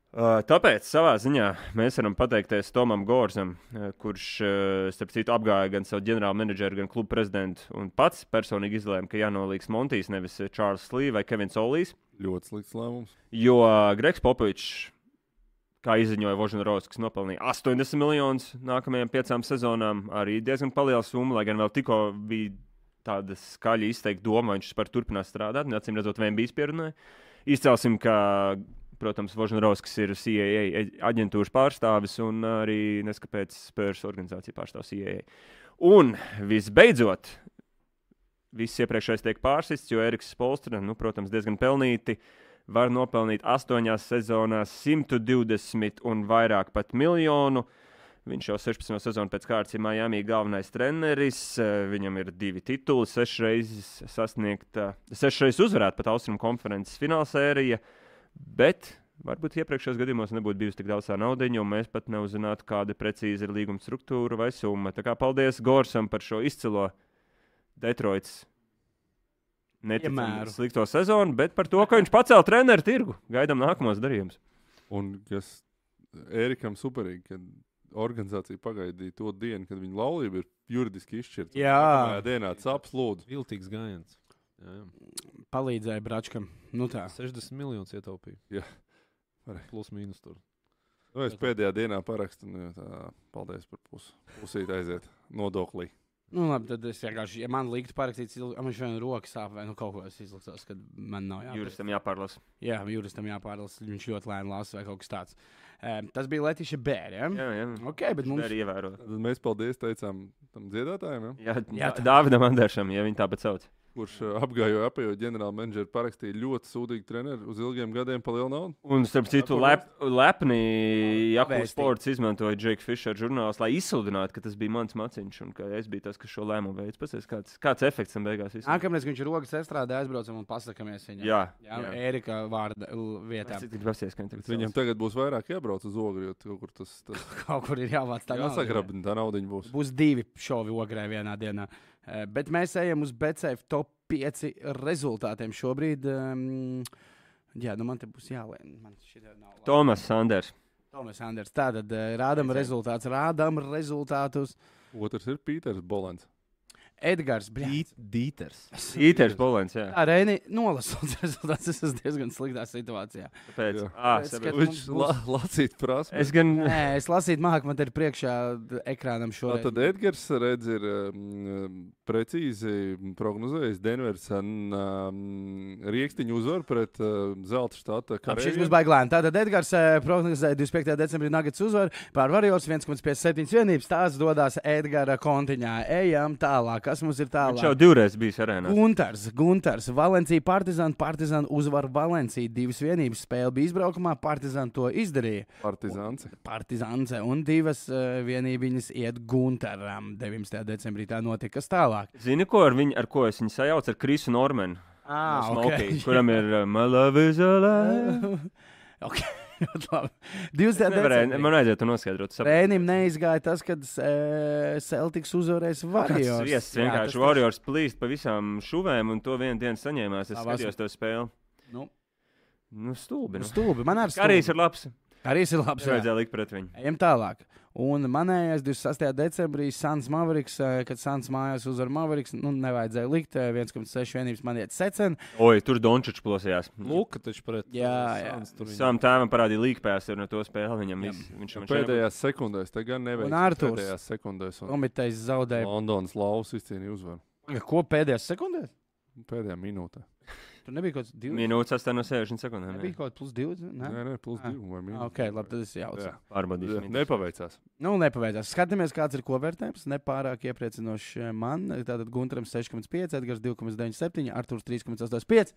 Speaker 2: Uh, Tāpēc savā ziņā mēs varam pateikties Tomam Gorzam, eh, kurš, eh, starp citu, apgāja gan savu ģenerālu menedžeru, gan klubu prezidentu un pats personīgi izlēma, ka jānolīgs Montijs, nevis eh, Čārls Līs vai Kevins Olijs.
Speaker 3: Ļoti slikts lēmums.
Speaker 2: Jo eh, Gregs Popovičs, kā izziņoja Vožņorovs, kas nopelnīja 80 miljonus nākamajām piecām sezonām, arī diezgan liela summa, lai gan vēl tikko bija tāda skaļa izteikta doma, vai viņš vispār turpinās strādāt, un acīm redzot, vien bijis pierunājis. Izcelsim, ka, protams, Vožņorovs ir CIA e- aģentūras pārstāvis un arī neskapēc spēļu organizācija pārstāv CIA. Un visbeidzot, viss iepriekšējais tiek pārsists, jo Eriks Polstra, nu, protams, diezgan pelnīti var nopelnīt astoņās sezonās 120 un vairāk pat miljonu. Viņš jau 16 sezonu pēc kārtas ir Miami galvenais treneris. eh, Viņam ir divi tituli, sešas reizes sasniegta, sešas reizes uzvarēta pat Austrum konferences finālsērija. Bet varbūt iepriekšējos gadījumos nebūtu bijusi tik daudz tā naudiņa, un mēs pat neuzzinātu, kāda precīzi ir līguma struktūra vai summa. Tā kā paldies Gorsam par šo izcilo Detroitas.
Speaker 1: Piemēru.
Speaker 2: Neticami slikto sezonu, bet par to, ka viņš pacēla treneru tirgu. Gaidām nākamos darījumus.
Speaker 3: Un kas Erikam superīgi, ka organizācija pagaidīja to dienu, kad viņa laulība ir juridiski izšķirta.
Speaker 1: Jā,
Speaker 3: Nākamajā dienā caps lūdzu.
Speaker 4: Viltīgs gājiens. Jā, jā.
Speaker 1: palīdzēja Bračkam. Nu tā.
Speaker 4: 60 miljonus ietaupīja.
Speaker 3: Jā.
Speaker 4: Plus mīnus tur.
Speaker 3: Nu, es pēdējā dienā parakstu. un, jā, tā, Paldies par pusi. Pusīt aiziet nodoklī.
Speaker 1: Nu, labi, tad es vienkārši, ja man liktu parakstīt, ilgi, man šodien rokas sāp, vai nu kaut ko es izlasīju, kad man nav jāpieņem.
Speaker 2: Juristam jāpārlasa.
Speaker 1: Jā, juristam jāpārlasa, viņš ļoti lēni lasa vai kaut kas tāds. Um, tas bija Latīša Bērija.
Speaker 2: Jā, jā.
Speaker 1: Ok, bet mums
Speaker 2: Arī ievērot.
Speaker 3: Tad mēs paldies teicām tam dziedātājam, ja?
Speaker 2: Jā, jā
Speaker 1: Jā, tā-
Speaker 2: Dāvidam Andrēšam, ja viņi tāpat sauc.
Speaker 3: kurš ā, apgāja apējo ģenerāla menedžera, parakstīja ļoti sūdīgu treneru uz ilgiem gadiem pa lielu naudu.
Speaker 2: Un, starp citu, lep, lepni Jakubu
Speaker 1: Pavēsti.
Speaker 2: sports izmantoja Džeku Fischeru žurnālus, lai izsludinātu, ka tas bija mans maciņš un ka es biju tas, kas šo lēmumu veids. Pēc kāds, kāds efekts tam beigās visam?
Speaker 1: nākamreiz, kad viņš ir rokas estrādē, aizbraucam un pasakāmies viņam.
Speaker 2: Jā,
Speaker 1: jā, Erika vārda l- vietā.
Speaker 2: Es tik prasījos, ka viņi tagad
Speaker 3: Viņam
Speaker 2: sauc.
Speaker 3: tagad būs vairāk jābrauc uz ogri, jo kaut kur tas, tas
Speaker 1: Kaut kur ir jāvāc tā nauda.
Speaker 3: jāsagrabina, tā naudiņa būs.
Speaker 1: Būs divi šovi ogrē vienā dienā. Eh, Bet mēs ejam uz BCF top 5 rezultātiem šobrīd. em, Jā, nu man te būs jālēm. Man šī nav. labi.
Speaker 2: Tomas Sanders.
Speaker 1: Tomas Anders. Tātad eh, rādam rezultātus, rādam rezultātus.
Speaker 3: Otrs ir Pīters Bolants.
Speaker 1: Edgars Brīsīs.
Speaker 4: Dīters.
Speaker 2: Īters Polens, jā.
Speaker 1: Tā Rēni nolasot rezultātus, es esmu diezgan sliktā situācijā.
Speaker 2: Tāpēc.
Speaker 3: Jā.
Speaker 2: Ā,
Speaker 1: Es
Speaker 2: sapratu.
Speaker 1: skatos-
Speaker 3: Viņš la, lasīt prasme.
Speaker 2: Es gan.
Speaker 1: Nē, es lasīju, māku, man te ir priekšā d- ekrānam šo.
Speaker 3: Tātad Edgars redz, ir um, precīzi prognozējis Denveras um, rīkstiņu uzvaru pret um, Zelta štata
Speaker 1: Šis
Speaker 3: karavīru.
Speaker 1: būs baiglēns. Tātad Edgars eh, prognozēja 25. decembrī Nuggets uzvaru pār Varjos 1,57 vienības. Tās dodas Edgara kontiņā. Ejam tālāk. Kas mums ir
Speaker 2: Viņš jau
Speaker 1: tālāk?
Speaker 2: divreiz bijis arēnā.
Speaker 1: Gunters, Gunters, Valencija, Partizāna, Partizāna uzvar Valenciju. Divas vienības spēle bija izbraukumā, Partizāna to izdarīja.
Speaker 3: Partizāns.
Speaker 1: Partizāns un divas uh, vienības iet Gunteram. 19. decembrī tā notika. Kas tālāk?
Speaker 2: Zini, ko ar viņu, ar ko es viņu sajaucu? Ar Krisu Normanu.
Speaker 1: Ah,
Speaker 2: No Smokey, Kuram ir uh, My Love is Alive.
Speaker 1: ok, ļoti labi. 20.
Speaker 2: Nevarēja,
Speaker 1: decembrī.
Speaker 2: man aiziet un noskaidrot, sapratu.
Speaker 1: Rēnim neizgāja tas, kad uh, Celtics uzvarēs Warriors.
Speaker 2: Viesis
Speaker 1: Jā, tas
Speaker 2: vienkārši
Speaker 1: tas-
Speaker 2: Warriors plīst pa visām šuvēm, un to vienu dienu saņēmās. Es
Speaker 1: Tā vasarā.
Speaker 2: skatījos to spēli.
Speaker 1: Nu,
Speaker 2: Nu, stulbi. Nu.
Speaker 1: stulbi. Man arī
Speaker 2: Karīs
Speaker 1: stulbi.
Speaker 2: ir labs.
Speaker 1: Arī tas ir labs.
Speaker 2: Tas
Speaker 1: jā.
Speaker 2: vajadzēja likt pret viņu.
Speaker 1: Ejam tālāk. Un manējais 26. decembrī Sans Mavriks, eh, kad Sans mājās uzvar Mavriks, nu, nevajadzēja likt eh, 1,6 vienības man iet secen.
Speaker 2: Oi, tur Dončits plosījās.
Speaker 4: Luka taču pret
Speaker 1: Jā,
Speaker 4: uh,
Speaker 1: jā.
Speaker 4: Sans tur viņa-
Speaker 2: Savam tēvam parādīja līkpēs ar no to spēli. Viņam viss, viņš
Speaker 1: Nu,
Speaker 3: Viņš
Speaker 2: man
Speaker 3: pēdējās sekundēs, te gan neveicis.
Speaker 1: Arturs.
Speaker 3: Pēdējās sekundēs. Un
Speaker 1: Komitejs zaudēja.
Speaker 3: Londonas lauvas izcīnīja uzvaru.
Speaker 1: Ko pēdējās sekundēs?
Speaker 3: Pēdējā minūtē.
Speaker 1: Tur nebija kaut kas 20.
Speaker 2: Minūtes 8 no 60 sekundēm.
Speaker 1: Nebija
Speaker 2: jā.
Speaker 1: kaut kas plus 20. Ne?
Speaker 3: Nē, nē, plus
Speaker 1: Ah.
Speaker 3: divi vai
Speaker 1: Ah,
Speaker 3: mīnus.
Speaker 1: Ok, labi, tad es jautāju.
Speaker 3: Jā.
Speaker 2: Pārbaudīsim.
Speaker 3: Jā, Nepaveicās.
Speaker 1: Nu, nepaveidzās. Skatāmies, kāds ir kopvērtējums. Nepārāk iepriecinošs eh, man. Tātad Gunteram 6,5, Edgars 2,97, Arthurs 3,85,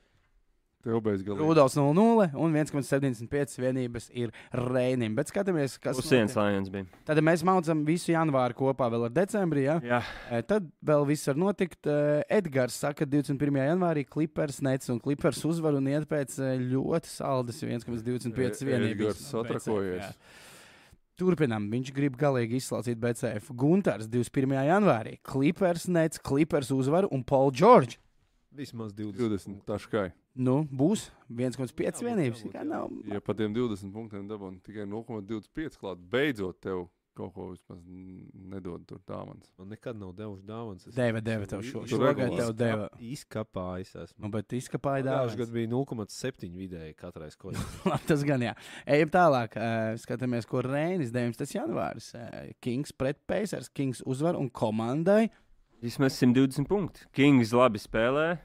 Speaker 3: Tev beidz galā.
Speaker 1: Rudals 0,0 un 1,75 vienības ir Reinim. Bet skatāmies, kas
Speaker 2: Pusdienas Lions bija.
Speaker 1: Tad ja mēs maucam visu janvāru kopā vēl ar decembrī. Ja?
Speaker 2: Jā,
Speaker 1: E, Tad vēl viss var notikt. E, Edgars saka, ka 21. janvārī klipers nec un klipers uzvar un iet pēc e, ļoti saldas 1,25 vienības.
Speaker 3: E, Edgars
Speaker 1: no BCF,
Speaker 3: satrakojies.
Speaker 1: jā. Turpinām. Viņš grib galīgi izslaucīt BCF. Gunārs 21. janvārī. Klipers nec, klipers uzvar un Paul George.
Speaker 4: vismaz 20.
Speaker 3: 20. Tā skai.
Speaker 1: Nu, būs 1,5
Speaker 4: Jābūt,
Speaker 1: vienības.
Speaker 4: jābūt,
Speaker 1: Tā
Speaker 4: jā.
Speaker 1: nav
Speaker 3: Ja par tiem 20 punktiem dabūjām tikai 0,25 klāt, beidzot tev kaut ko vismaz n- nedod tur dāvāns.
Speaker 4: Man nekad nav devuši dāvāns. Es
Speaker 1: Deva,
Speaker 4: esmu
Speaker 1: deva tev šo.
Speaker 3: Tu
Speaker 1: Šogad
Speaker 3: regulāri.
Speaker 1: tev deva.
Speaker 4: Izkapājis esmu.
Speaker 1: Nu, bet izkapāja dāvā.
Speaker 4: Pagājušajā gadā bija 0,7 vidēji katrai skolai.
Speaker 1: Labi, tas gan jā. Ejam tālāk. eh, Skatāmies, ko Reinis 19. janvāris. eh, Kings pret Pacers. Kings uzvar un komandai.
Speaker 2: vismaz 120 punkti. Kings labi spēlē.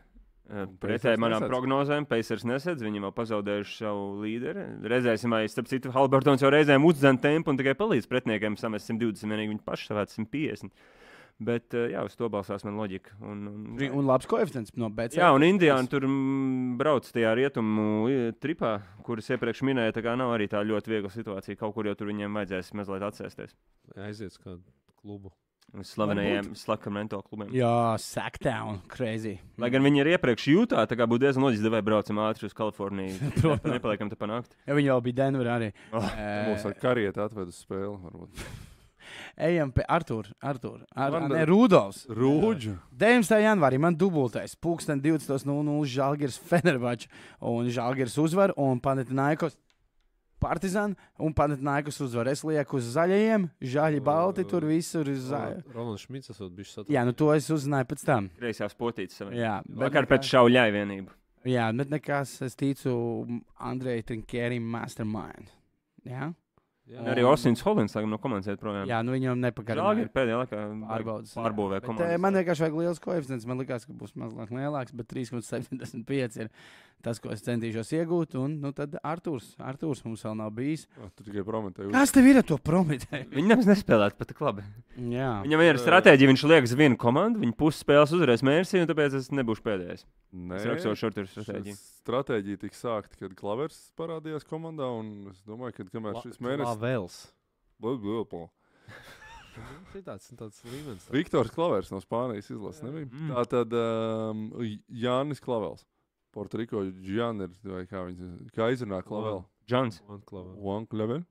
Speaker 2: eh,
Speaker 3: Un Pacers
Speaker 2: Pretēji manām
Speaker 3: nesedz.
Speaker 2: prognozēm, Pacers nesedz, viņi jau pazaudējuši savu līderi. Reizēsim, vai starp citu, Halbertons jau reizēm uzdzen tempu un tikai palīdz pretiniekiem samest 120, vienīgi viņi paši savāca 150. Bet eh, jā, uz to balstās man loģika. Un, un,
Speaker 1: Un labs koeficients no BC.
Speaker 2: Jā, un Indijāna tur mm, brauc tajā rietumu i, tripā, kuras iepriekš minēja. Tā kā nav arī tā ļoti viegla situācija. Kaut kur jau tur viņiem vajadzēs mazliet atsēsties.
Speaker 4: Aiziet uz kādu klubu.
Speaker 2: Un Slavenajiem Slakamento klubiem. Jā.
Speaker 1: Jā, Sacktown, crazy.
Speaker 2: Lai gan viņi ir iepriekš jūtā, tā kā būtu diezgan loģiski, vai braucam ātri uz Kaliforniju.
Speaker 1: Protams.
Speaker 2: Nep- Nepaliekam te panākt.
Speaker 1: Ja viņi jau bija Denverā arī.
Speaker 2: Oh,
Speaker 1: Eh,
Speaker 3: Mums ar karieti atved uz spēli. varbūt.
Speaker 1: Ejam pie Arthūra. Artur, Ar,
Speaker 3: Man-
Speaker 1: ne, Rudolfs.
Speaker 3: Rūģi!
Speaker 1: 19. janvārī man dubultais. Pūksteni 20.00 Žalgiris Fenerbačs. Un Žalgiris uzvar un Panetinaikos. Partizan un Panetinaikos uzvar. Es lieku uz zaļajiem, zaļi, balti, tur visur ir zaļi.
Speaker 4: Ronalds Šmits esot bijis satraukts.
Speaker 1: Jā, nu to es uzzināju pēc tam.
Speaker 2: Kreisās potītes savai.
Speaker 1: Jā,
Speaker 2: Vakar pēc šauļai vienību.
Speaker 1: Jā, bet nekas, es ticu Andrejai Trinkērim, Mastermind. Jā,
Speaker 4: jā.
Speaker 2: Un arī Osins Holins, lai gan no komandas iet projām.
Speaker 1: Um, Jā nu viņam
Speaker 2: Žēl,
Speaker 1: nepagaidām.
Speaker 2: ir pēdējā laikā
Speaker 1: Pārbaudas.
Speaker 2: pārbūvē
Speaker 1: Bet, eh,
Speaker 2: komandas.
Speaker 1: man vienkārši vajag liels koeficients. Man liekas, ka būs mazliet lielāks, bet 3,75 ir tas, ko es centīšos iegūt. Un nu, tad Arthurs, Arthurs mums vēl nav bijis.
Speaker 3: Tur tikai prometēju.
Speaker 1: Kas tev ir ar to promitēju?
Speaker 2: Viņi nemaz nespēlētu pat tik labi.
Speaker 1: Jā,
Speaker 2: Viņam ir
Speaker 3: Eh.
Speaker 2: stratēģija, viņš liek uz vienu komandu, viņa puses spēles uzvarēs mērķi, un tāpēc es nebūšu pēdējais.
Speaker 3: Nē,
Speaker 2: Es rakstu ar šurtu stratēģiju.
Speaker 3: Stratēģija tika sākta, kad klavers parādījās komandā, un es domāju, ka kamēr šis mēnesis
Speaker 4: Vēls.
Speaker 3: būs.
Speaker 4: Tas ir Nu, tāds, tāds līmenis. Tā.
Speaker 3: Viktors Klavers no Spānijas izlases nebija.
Speaker 2: Mm.
Speaker 3: Tā tad um, J- Jānis Klavels. Portoriko Džaners, vai kā viņš kā izrunā Klavela.
Speaker 2: Džans.
Speaker 4: Man klava.
Speaker 3: One Klavel.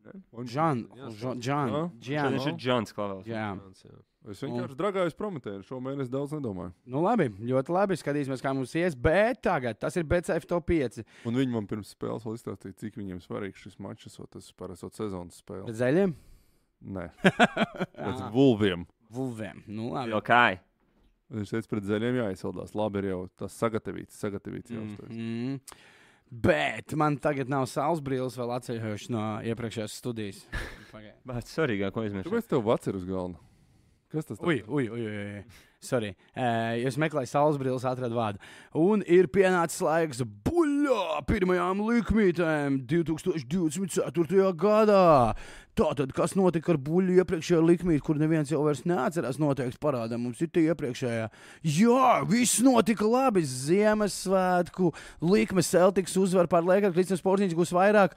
Speaker 1: Žan, Žan, Žan,
Speaker 2: Jā, viņš
Speaker 1: Žan.
Speaker 2: ir Džans Klavels.
Speaker 1: nu. Jā,
Speaker 4: Mans, jā.
Speaker 3: Es vienkārši dragājos prometēju, šo mēnesi daudz nedomāju.
Speaker 1: nu labi, ļoti labi. Skatīsimies, kā mums ies. Bet tagad tas ir BCF top 5.
Speaker 3: Un viņi man pirms spēles vēl izstāstīja, cik viņiem svarīgs šis mačs, jo tas parasti ir sezonas
Speaker 1: Bet
Speaker 3: spēle.
Speaker 1: zaļiem?
Speaker 3: Nē, pret
Speaker 1: Ah,
Speaker 3: vulviem.
Speaker 1: Vulvēm. Nu, labi.
Speaker 2: Jau kā.
Speaker 3: Viņš teica, pret zaļiem jāizsaldās. Labi, ir jau tas sagatavots, sagatavots jau. Mm.
Speaker 1: Mm. Bet man tagad nav saules brilles, vēl atceļojuši no iepriekšējās studijas. Pagaid.
Speaker 2: Vārds svarīgāk, ko aizmirst.
Speaker 3: Kāpēc tev vats ir uz galda? Kas tas
Speaker 1: Ui, ui, ui, ui, ui. Sorry. Uh, es meklēju saules brilles, atradu vārdu. Un ir pienācis laiks buļļā pirmajām likmītēm 2024. gadā. Tātad, kas notika ar buļļu iepriekšējā likmītē, kur neviens jau vairs neatcerās, noteikti parāda mums ir tie iepriekšējā. Jā, viss notika labi. Ziemassvētku likme Celtics uzvar par Lakers, Kristians Porziņš gūs vairāk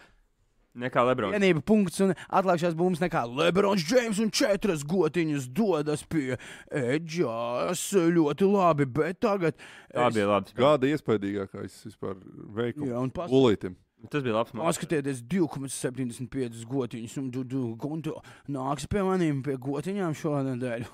Speaker 2: Nekā Lebrons.
Speaker 1: vienība punkts un atlākšās būmas nekā Lebrons Džeims un četras gotiņas dodas pie Edžas. Ļoti labi, bet tagad
Speaker 2: Tā bija labi.
Speaker 3: Gada iespaidīgākais vispār veikums.
Speaker 1: Jā, un pas-
Speaker 3: Ulītim.
Speaker 2: Tas bija labs mākslinieks.
Speaker 1: Paskatieties, 2,75 gotiņas, un tu, tu, tu nāks pie maniem pie gotiņām šonadēļ.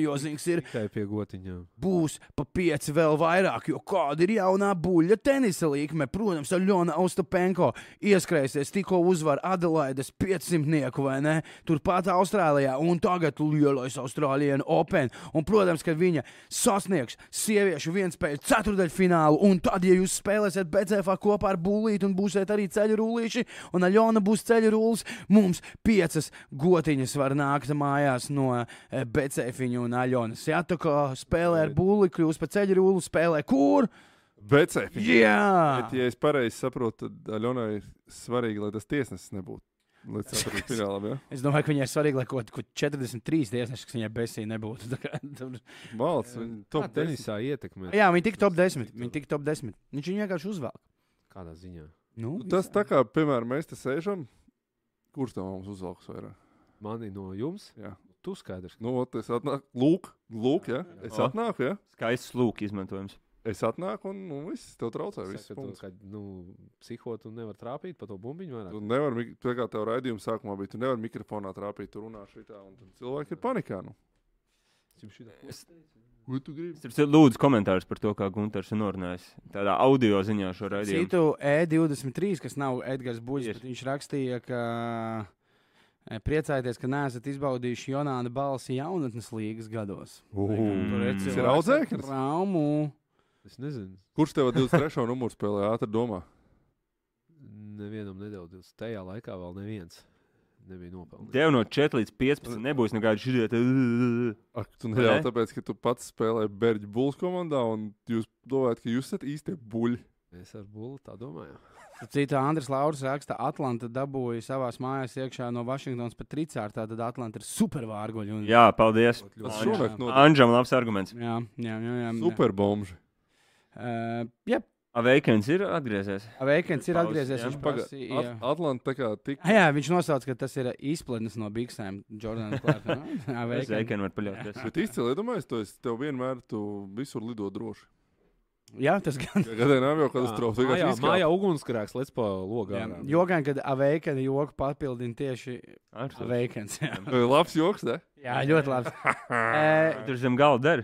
Speaker 1: jo zings ir,
Speaker 4: Tikai pie gotiņām.
Speaker 1: būs pa pieci vēl vairāk, jo kāda ir jaunā buļļa tenisa līkme. Protams, Aļona Ostapenko ieskrēsies, tikko uzvar Adelaides 500-nieku, vai ne? Turpat Austrālijā, un tagad lielais Austrālijas Open. Un, protams, ka viņa sasniegs sieviešu vienspēju ceturdaļfinālu, un tad, ja jūs spēlēsiet BCF kopā ar Bulītu un būsiet arī ceļu rullīši, un Aļona būs ceļu rullis, mums piecas gotiņas var nākt mājās no eh, BCF un Aļonas. Jā, tā kā spēlē ar Bulītu, kļūst par ceļu rullu, spēlē kur?
Speaker 3: Becēji.
Speaker 1: Jā!
Speaker 3: Bet, ja es pareizi saprotu, tad Aļonai ir svarīgi, lai tas tiesnesis nebūtu. Lai tas būtu finālā. Ja?
Speaker 1: Es domāju, ka viņai ir svarīgi, lai kaut kur 43 tiesneši, kas viņai besī nebūtu. Tā kā tur-
Speaker 3: Balts, viņa
Speaker 4: Top
Speaker 3: top tenisā.
Speaker 4: tenisā ietekmē.
Speaker 1: Jā, viņi tik top 10. Viņi tik top 10. Viņš viņu vienkārši uzvelk.
Speaker 4: Kādā ziņā?
Speaker 1: Nu,
Speaker 3: Tas
Speaker 1: visā.
Speaker 3: tā kā, piemēram, mēs te sēžam, kurš tam mums uzvalks vairāk?
Speaker 4: Mani no jums?
Speaker 3: Jā.
Speaker 4: Tu skaidrs.
Speaker 3: Nu, ot, es atnāku, lūk, lūk, ja? es
Speaker 2: O.
Speaker 3: atnāku, ja?
Speaker 2: Skaists lūk, izmantojums.
Speaker 3: Es atnāku un, un viss tev traucē.
Speaker 4: Saka,
Speaker 3: viss
Speaker 4: to,
Speaker 3: punkts.
Speaker 4: ka, Nu, psihotu nevar trāpīt pa to bumbiņu vairāk.
Speaker 3: Tu nevari, mik- tā kā tev raidījuma sākumā bija, tu nevari mikrofonā trāpīt, tu runā šitā, un tad cilvēki ir panikā. Nu.
Speaker 4: Jums šitā-
Speaker 3: Ko tu gribi?
Speaker 2: Starp citu, Lūdzu, komentārus par to, kā Gunārs ir norunājis. Tādā audio ziņā šo raidījumu.
Speaker 1: Citu E23, kas nav Edgars Buļs,
Speaker 2: Tieši.
Speaker 1: bet viņš rakstīja, ka e, priecājieties, ka neesat izbaudījuši Jonāna balsi jaunatnes līgas gados.
Speaker 2: Mm.
Speaker 1: ir
Speaker 2: Tas
Speaker 3: ir
Speaker 1: cilvēks ar
Speaker 3: audzēknis?
Speaker 1: Traumu.
Speaker 4: Es nezinu.
Speaker 3: Kurš tev 23. numuru spēlē ātri domā?
Speaker 4: Nevienam nedaudz. Tajā laikā vēl neviens nebija nopelnījis.
Speaker 2: Tev no 4 līdz 15 nebūs nekāda šī.
Speaker 3: Ak, tu
Speaker 2: Vai
Speaker 3: neļauj,
Speaker 2: ne?
Speaker 3: tāpēc, ka tu pats spēlē Berģa Bulls komandā, un jūs domājat, ka jūs esat īstie buļļi.
Speaker 4: Mēs ar Bulu tā domājām.
Speaker 1: Citā Andris Lauris raksta, ka Atlanta dabūja savā mājās iekšā no Vašingtonas pat tricārtā. Tad Atlanta ir supervārguļi. Un...
Speaker 2: Jā, paldies.
Speaker 3: Tas
Speaker 1: Anģa.
Speaker 3: šonakt notiek
Speaker 2: Anģam, labs arguments.
Speaker 1: Jā, jā, jā. jā,
Speaker 3: superbombži.
Speaker 1: Uh, jā,
Speaker 2: Aveikens ir atgriezies.
Speaker 1: Veikens ir
Speaker 2: Pauzi,
Speaker 1: atgriezies.
Speaker 2: jā.
Speaker 1: Viņš
Speaker 3: Paga-
Speaker 1: prasīja-
Speaker 3: At- Atlanta tā kā tik.
Speaker 1: Ah, Jā, viņš nosauca, ka tas ir izplēnis no biksēm. Jordāna Klārka. Jā, veikam.
Speaker 2: Aveikens var paļauties.
Speaker 3: Bet īstenībā, iedomājieties, to es tev vienmēr tu visur lido droši.
Speaker 1: Jā, tas gan.
Speaker 3: Ja Gadē nav jau katastrofa.
Speaker 4: Jā, mājā,
Speaker 3: vienkārši nu, izkāp.
Speaker 4: mājā ugunsgrēks, lec pa logā.
Speaker 1: Jā,
Speaker 4: ārā.
Speaker 1: Jogan, kad aveikana joku papildina tieši
Speaker 2: Ar to.
Speaker 1: aveikans. Jā,
Speaker 3: Labs joks, ne?
Speaker 1: jā ļoti labi. e,
Speaker 2: Tur zem galda der.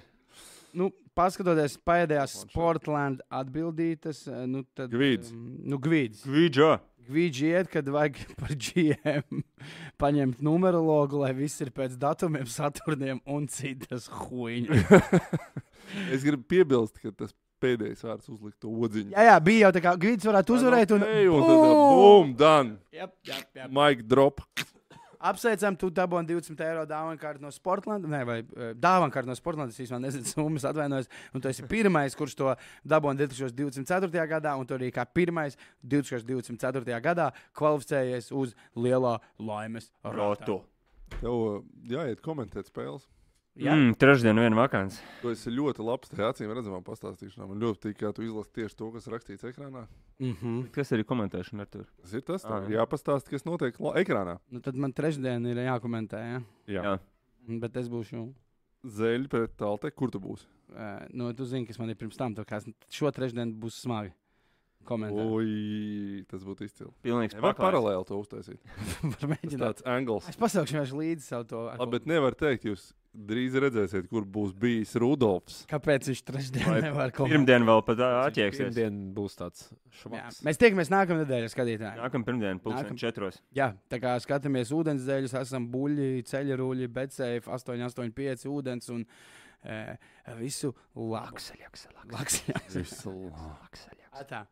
Speaker 1: nu, paskatoties pēdējās Sportland atbildītas, e, nu, tad.
Speaker 3: Gvids.
Speaker 1: em, Nu, Gvids.
Speaker 2: Gvidžo.
Speaker 1: Gvids iet, kad vajag par GM paņemt numerologu, lai viss ir pēc datumiem, saturniem un citas huīņas.
Speaker 3: Es gribu piebilst, ka tas pēdējais vārds uzlikt to odziņu.
Speaker 1: Jā, jā, bija jau tā kā Gvids varētu uzvarēt un.
Speaker 3: Ej, un tad bum, dan,
Speaker 1: Jā, jā, jā.
Speaker 3: Mike drop.
Speaker 1: Apsveicam, tu dabūji 20 eiro dāvanu kārtu no Sportlandes. Nē, vai dāvanu kārtu no Sportlandes. Es īstenībā nezinu, summas atvainojos. Un tu esi pirmais, kurš to dabūji 2024. gadā, un tu arī kā pirmais 2024. gadā kvalificējies uz lielā laimes rotu.
Speaker 2: Rotu.
Speaker 3: Tev uh, jāiet komentēt spēles.
Speaker 1: Jā.
Speaker 2: Mm, trešdien viena vakants.
Speaker 3: Tu esi ļoti labs tajā acīm redzamā pastāstīšanā. Man ļoti patīk, kā tu izlasi tieši to, kas rakstīts ekrānā.
Speaker 1: Mm -hmm.
Speaker 2: Kas arī komentēšana ar tur?
Speaker 3: Tas ir tas,
Speaker 2: Ā,
Speaker 3: tev ir
Speaker 2: Ah, jā.
Speaker 3: jāpastāsta, kas notiek la- ekrānā.
Speaker 1: nu, tad man trešdien ir jākomentē, ja?
Speaker 2: Jā.
Speaker 1: bet es būšu.
Speaker 3: Zeļi pret talte, kur tu būsi?
Speaker 1: eh, Nu, tu zini, kas man ir pirms tam. tā kā es- Šo trešdienu būs smagi. Komentēt.
Speaker 3: Oi, tas būtu izcili.
Speaker 2: Pilnīgs
Speaker 3: Nevar
Speaker 2: paklājs.
Speaker 3: paralēli to uztaisīt.
Speaker 1: Var
Speaker 3: Tas
Speaker 1: mēģināt.
Speaker 3: tāds angls.
Speaker 1: Es pasaukšu vienkārši līdzi savu to. ar ko-
Speaker 3: Labi, bet nevar teikt, jūs drīz redzēsiet, kur būs bijis Rudolfs.
Speaker 1: Kāpēc viņš trešdien
Speaker 2: Vai
Speaker 1: nevar komentēt?
Speaker 2: Pirmdien vēl pat ā, atjēgsies.
Speaker 4: Pirmdien būs tāds
Speaker 1: Jā,
Speaker 4: švaks.
Speaker 1: mēs tiekamies nākamā nedēļa, skatītāji.
Speaker 2: Nākamā pirmdiena,
Speaker 1: Nākam-
Speaker 2: pulksten četros.
Speaker 1: Jā, tā kā skatāmies ūdens dēļus, esam buļļi, ceļruļi, becēji, 885 ūdens un e, visu laksu.
Speaker 2: Laksaļaks,
Speaker 1: Laksu.
Speaker 3: Visu labi.
Speaker 2: laksaļaks.
Speaker 1: Tā.